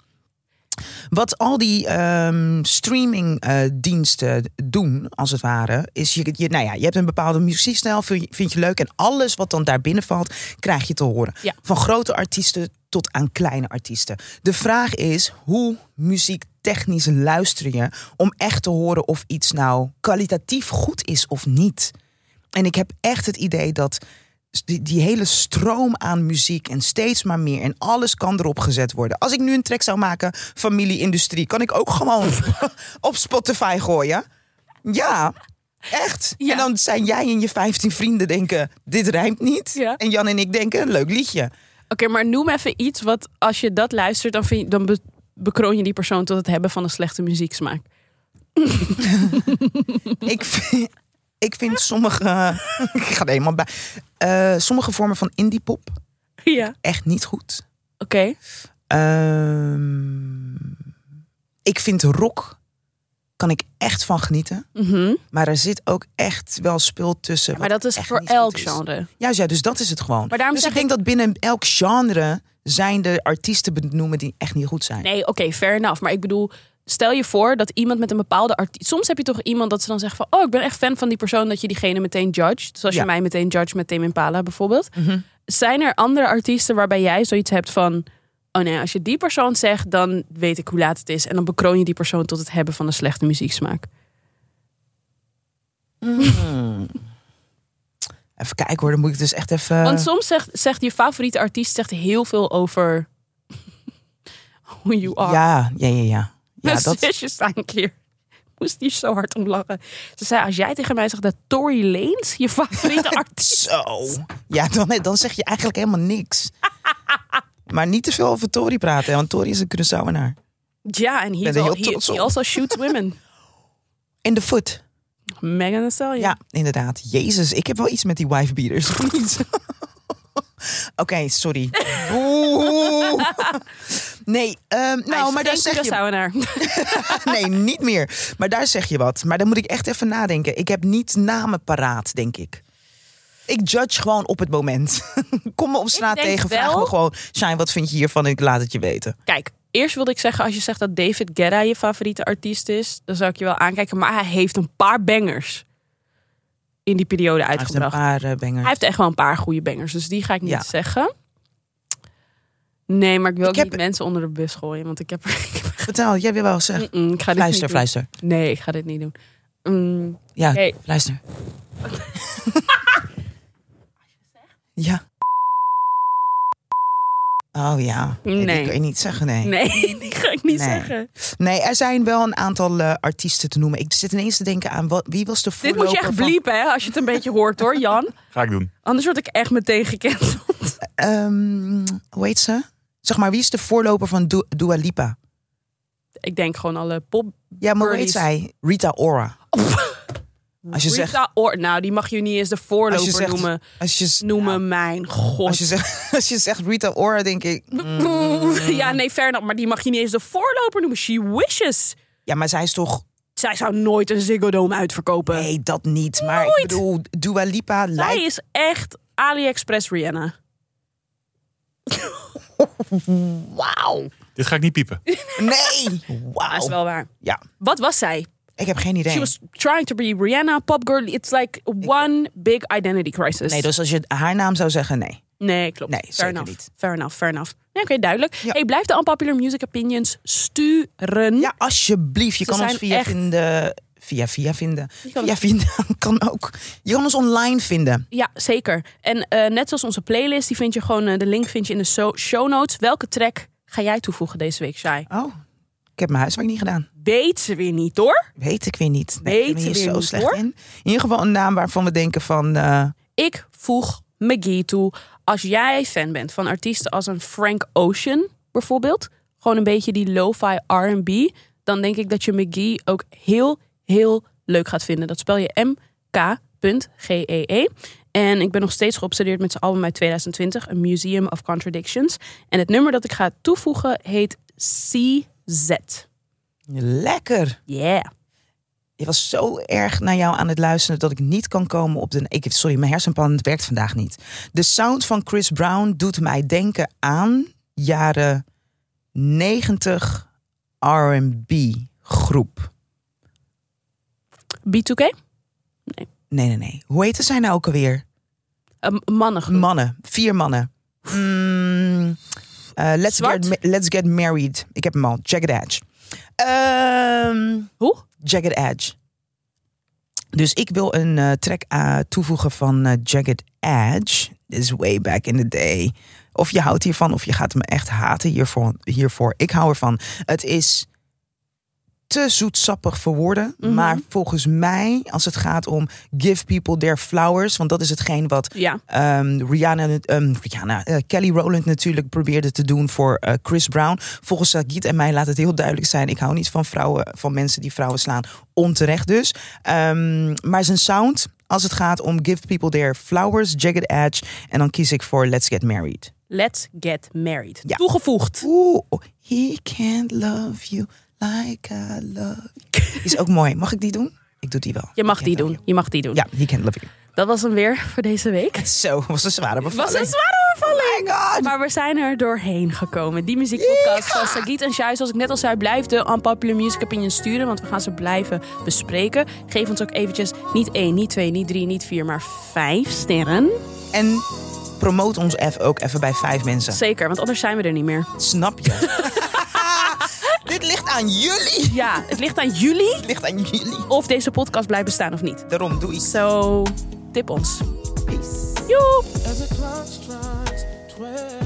Speaker 2: Wat al die ehm, streamingdiensten doen, als het ware, is je, je, nou ja, je hebt een bepaalde muziekstijl, vind je, vind je leuk. En alles wat dan daar binnen valt, krijg je te horen.
Speaker 1: Ja.
Speaker 2: Van grote artiesten tot aan kleine artiesten. De vraag is, hoe muziektechnisch luister je om echt te horen of iets nou kwalitatief goed is of niet? En ik heb echt het idee dat die, die hele stroom aan muziek en steeds maar meer en alles kan erop gezet worden. Als ik nu een track zou maken, familie industrie, kan ik ook gewoon op Spotify gooien. Ja, echt.
Speaker 1: Ja.
Speaker 2: En dan zijn jij en je 15 vrienden denken, dit rijmt niet.
Speaker 1: Ja.
Speaker 2: En Jan en ik denken, leuk liedje.
Speaker 1: Oké, maar noem even iets wat als je dat luistert, dan, vind je, dan be- bekroon je die persoon tot het hebben van een slechte muzieksmaak.
Speaker 2: ik, vind, ik vind sommige, ik ga er helemaal bij, Eh, sommige vormen van indie pop
Speaker 1: Ja. Oké.
Speaker 2: echt niet goed. Ehm, ik vind rock kan ik echt van genieten.
Speaker 1: Mhm.
Speaker 2: Maar er zit ook echt wel spul tussen.
Speaker 1: Maar
Speaker 2: wat
Speaker 1: dat is
Speaker 2: echt
Speaker 1: voor
Speaker 2: niet goed
Speaker 1: elk
Speaker 2: is.
Speaker 1: genre.
Speaker 2: Juist, ja, dus dat is het gewoon.
Speaker 1: Maar daarom
Speaker 2: dus
Speaker 1: zeg
Speaker 2: ik denk dat binnen elk genre zijn de artiesten benoemen die echt niet goed zijn.
Speaker 1: Nee, oké, fair enough. Maar ik bedoel, stel je voor dat iemand met een bepaalde artiest... Soms heb je toch iemand dat ze dan zegt van... Oh, ik ben echt fan van die persoon, dat je diegene meteen judgt. Zoals
Speaker 2: Ja.
Speaker 1: je mij meteen judgt met Tame Impala bijvoorbeeld. Zijn er andere artiesten waarbij jij zoiets hebt van... Oh nee, als je die persoon zegt, dan weet ik hoe laat het is. En dan bekroon je die persoon tot het hebben van een slechte muzieksmaak.
Speaker 2: Even kijken hoor, dan moet ik dus echt even.
Speaker 1: Want soms zegt, zegt je favoriete artiest zegt heel veel over who you are.
Speaker 2: Ja, ja, ja, ja. ja
Speaker 1: Mijn
Speaker 2: dat,
Speaker 1: zusje staan een keer. Moest hier zo hard om lachen. Ze zei, als jij tegen mij zegt dat Tory Lanez je favoriete artiest...
Speaker 2: zo. Ja, dan, dan zeg je eigenlijk helemaal niks. maar niet te veel over Tori praten, want Tori is een Curaçaoenaar.
Speaker 1: Ja, en he,
Speaker 2: Ben er heel
Speaker 1: he-
Speaker 2: trots
Speaker 1: he
Speaker 2: op.
Speaker 1: also shoots women.
Speaker 2: In de foot.
Speaker 1: Megan Thee Stallion.
Speaker 2: Ja, inderdaad. Jezus, ik heb wel iets met die wifebeaters. of niet? Oké, sorry. Oeh. Nee, ehm,
Speaker 1: Hij
Speaker 2: nou,
Speaker 1: is
Speaker 2: maar daar
Speaker 1: geen
Speaker 2: zeg je...
Speaker 1: Curaçaoenaar.
Speaker 2: Nee, niet meer. Maar daar zeg je wat. Maar dan moet ik echt even nadenken. Ik heb niet namen paraat, denk ik. Ik judge gewoon op het moment. Kom me op straat
Speaker 1: denk
Speaker 2: tegen, vraag
Speaker 1: wel-
Speaker 2: me gewoon... Shine, wat vind je hiervan? En ik laat het je weten.
Speaker 1: Kijk, eerst wilde ik zeggen, als je zegt dat David Guetta je favoriete artiest is... dan zou ik je wel aankijken. Maar hij heeft een paar bangers in die periode
Speaker 2: Hij heeft een
Speaker 1: uitgebracht.
Speaker 2: paar eh, bangers.
Speaker 1: Hij heeft echt wel een paar goede bangers, dus die ga ik niet
Speaker 2: Ja.
Speaker 1: zeggen. Nee, maar ik wil
Speaker 2: Ik
Speaker 1: ook
Speaker 2: heb-
Speaker 1: niet mensen onder de bus gooien, want ik heb er... Ik, heb er-
Speaker 2: Vertel, jij wil wel zeggen.
Speaker 1: Mm, ik ga dit
Speaker 2: Fluister,
Speaker 1: niet
Speaker 2: fluister.
Speaker 1: doen. Nee, ik ga dit niet doen. Mm,
Speaker 2: Ja,
Speaker 1: Oké.
Speaker 2: fluister. ja. Oh ja. Nee.
Speaker 1: Nee.
Speaker 2: Dat kan je niet zeggen, nee.
Speaker 1: nee, die ga ik niet
Speaker 2: Nee.
Speaker 1: zeggen.
Speaker 2: Nee, er zijn wel een aantal eh, artiesten te noemen. Ik zit ineens te denken aan wat, wie was de
Speaker 1: Dit
Speaker 2: voorloper
Speaker 1: moet je echt
Speaker 2: van-
Speaker 1: bliepen, hè, als je het een beetje hoort hoor, Jan.
Speaker 3: Ga ik doen.
Speaker 1: Anders word ik echt meteen gecanceld.
Speaker 2: Ehm, hoe heet ze? Zeg maar, wie is de voorloper van Du- Dua Lipa?
Speaker 1: Ik denk gewoon alle pop...
Speaker 2: Ja, maar hoe heet
Speaker 1: Birdies.
Speaker 2: zij? Rita Ora. Als je zegt...
Speaker 1: Rita Ora- nou, die mag je niet eens de voorloper
Speaker 2: Als je zegt,
Speaker 1: noemen.
Speaker 2: als je,
Speaker 1: Noemen
Speaker 2: ja,
Speaker 1: mijn god.
Speaker 2: als, je Mm. zegt, als je zegt Rita Ora, denk ik...
Speaker 1: Hm. Ja, nee, fair enough, maar die mag je niet eens de voorloper noemen. She wishes.
Speaker 2: Ja, maar zij is toch...
Speaker 1: Zij zou nooit een Ziggo Dome uitverkopen.
Speaker 2: Nee, dat niet. Maar ik
Speaker 1: Nooit.
Speaker 2: bedoel, Dua Lipa
Speaker 1: Zij
Speaker 2: lijkt...
Speaker 1: is echt AliExpress Rihanna.
Speaker 2: Wauw.
Speaker 3: Dit ga ik niet piepen.
Speaker 2: Nee.
Speaker 1: Dat Ah, is
Speaker 2: Wauw.
Speaker 1: wel waar.
Speaker 2: Ja,
Speaker 1: Wat was zij?
Speaker 2: ik heb geen
Speaker 1: She
Speaker 2: idee.
Speaker 1: was trying to be Rihanna, pop girl. It's like one big identity crisis.
Speaker 2: Nee, dus als je haar naam zou zeggen, nee.
Speaker 1: Nee, klopt.
Speaker 2: Nee,
Speaker 1: fair
Speaker 2: zeker
Speaker 1: enough.
Speaker 2: niet.
Speaker 1: Fair enough, fair enough. Ja, Oké, duidelijk.
Speaker 2: Ja.
Speaker 1: Hey, blijf de unpopular music opinions sturen.
Speaker 2: Ja, alsjeblieft. Je
Speaker 1: Ze
Speaker 2: kan ons
Speaker 1: zijn
Speaker 2: via
Speaker 1: echt-
Speaker 2: vinden. Via via vinden.
Speaker 1: kan-
Speaker 2: Via vinden kan ook. Je kan ons online vinden.
Speaker 1: Ja, zeker. En eh, net zoals onze playlist, die vind je gewoon, eh, de link vind je in de so- show notes. Welke track ga jij toevoegen deze week, Shai?
Speaker 2: Oh, ik heb mijn huiswerk niet gedaan.
Speaker 1: Weet ze weer niet, hoor.
Speaker 2: Weet ik weer niet. ik ben
Speaker 1: Weten
Speaker 2: hier
Speaker 1: weer
Speaker 2: zo
Speaker 1: niet,
Speaker 2: slecht
Speaker 1: hoor.
Speaker 2: in. In ieder geval een naam waarvan we denken van. eh,
Speaker 1: Ik voeg McGee toe. Als jij fan bent van artiesten als een Frank Ocean bijvoorbeeld, gewoon een beetje die lo-fi R&B, dan denk ik dat je McGee ook heel, heel leuk gaat vinden. Dat spel je M-K.G-E-E. E En ik ben nog steeds geobsedeerd met zijn album uit 2020, A Museum of Contradictions. En het nummer dat ik ga toevoegen heet CZ.
Speaker 2: lekker.
Speaker 1: Yeah.
Speaker 2: Je was zo erg naar jou aan het luisteren dat ik niet kan komen op de. Ik, sorry, mijn hersenpan het werkt vandaag niet. De sound van Chris Brown doet mij denken aan jaren 90 RB groep.
Speaker 1: B2K?
Speaker 2: Nee, nee, nee. Hoe heette zij nou ook alweer?
Speaker 1: Een mannengroep.
Speaker 2: Mannen. Vier mannen. Mm, eh, let's,
Speaker 1: Zwart?
Speaker 2: get, ma- let's Get Married. Ik heb hem al. Jagged Edge. Ehm,
Speaker 1: Hoe?
Speaker 2: Jagged Edge. Dus ik wil een eh, track eh, toevoegen van eh, Jagged Edge. This is way back in the day. Of je houdt hiervan of je gaat me echt haten hiervoor. hiervoor. Ik hou ervan. Het is te zoetsappig voor woorden. Maar volgens mij, als het gaat om give people their flowers... want dat is hetgeen wat
Speaker 1: Ja.
Speaker 2: ehm, Rihanna, ehm, Rihanna eh, Kelly Rowland natuurlijk probeerde te doen voor eh, Chris Brown. Volgens Sagit en mij laat het heel duidelijk zijn. Ik hou niet van vrouwen, van mensen die vrouwen slaan. Onterecht dus. Ehm, maar zijn sound, als het gaat om Give People Their Flowers, Jagged Edge. En dan kies ik voor Let's Get Married.
Speaker 1: Let's Get Married.
Speaker 2: Ja.
Speaker 1: Toegevoegd.
Speaker 2: Oeh, he can't love you like I love you. Is ook mooi. Mag ik die doen? Ik doe die wel.
Speaker 1: Je mag
Speaker 2: He
Speaker 1: die
Speaker 2: can't
Speaker 1: doen.
Speaker 2: love
Speaker 1: Je mag die doen.
Speaker 2: you. Ja, he can't love you.
Speaker 1: Dat was hem weer voor deze week.
Speaker 2: Zo, was een zware bevalling.
Speaker 1: was een zware
Speaker 2: Oh
Speaker 1: bevalling.
Speaker 2: my god.
Speaker 1: Maar we zijn er doorheen gekomen. Die muziekpodcast van Sagit en Shai, zoals ik net al zei, blijf de Unpopular Music Opinion sturen, want we gaan ze blijven bespreken. Geef ons ook eventjes niet één, niet twee, niet drie, niet vier, maar vijf sterren.
Speaker 2: En promoot ons even ook even bij vijf mensen.
Speaker 1: Zeker, want anders zijn we er niet meer.
Speaker 2: Snap je? Dit ligt aan jullie.
Speaker 1: Ja, het ligt aan jullie
Speaker 2: Het ligt aan jullie.
Speaker 1: of deze podcast blijft bestaan of niet.
Speaker 2: Daarom doe iets.
Speaker 1: Zo, tip ons.
Speaker 2: Peace.
Speaker 1: Joep!
Speaker 7: As the clock strikes twelve.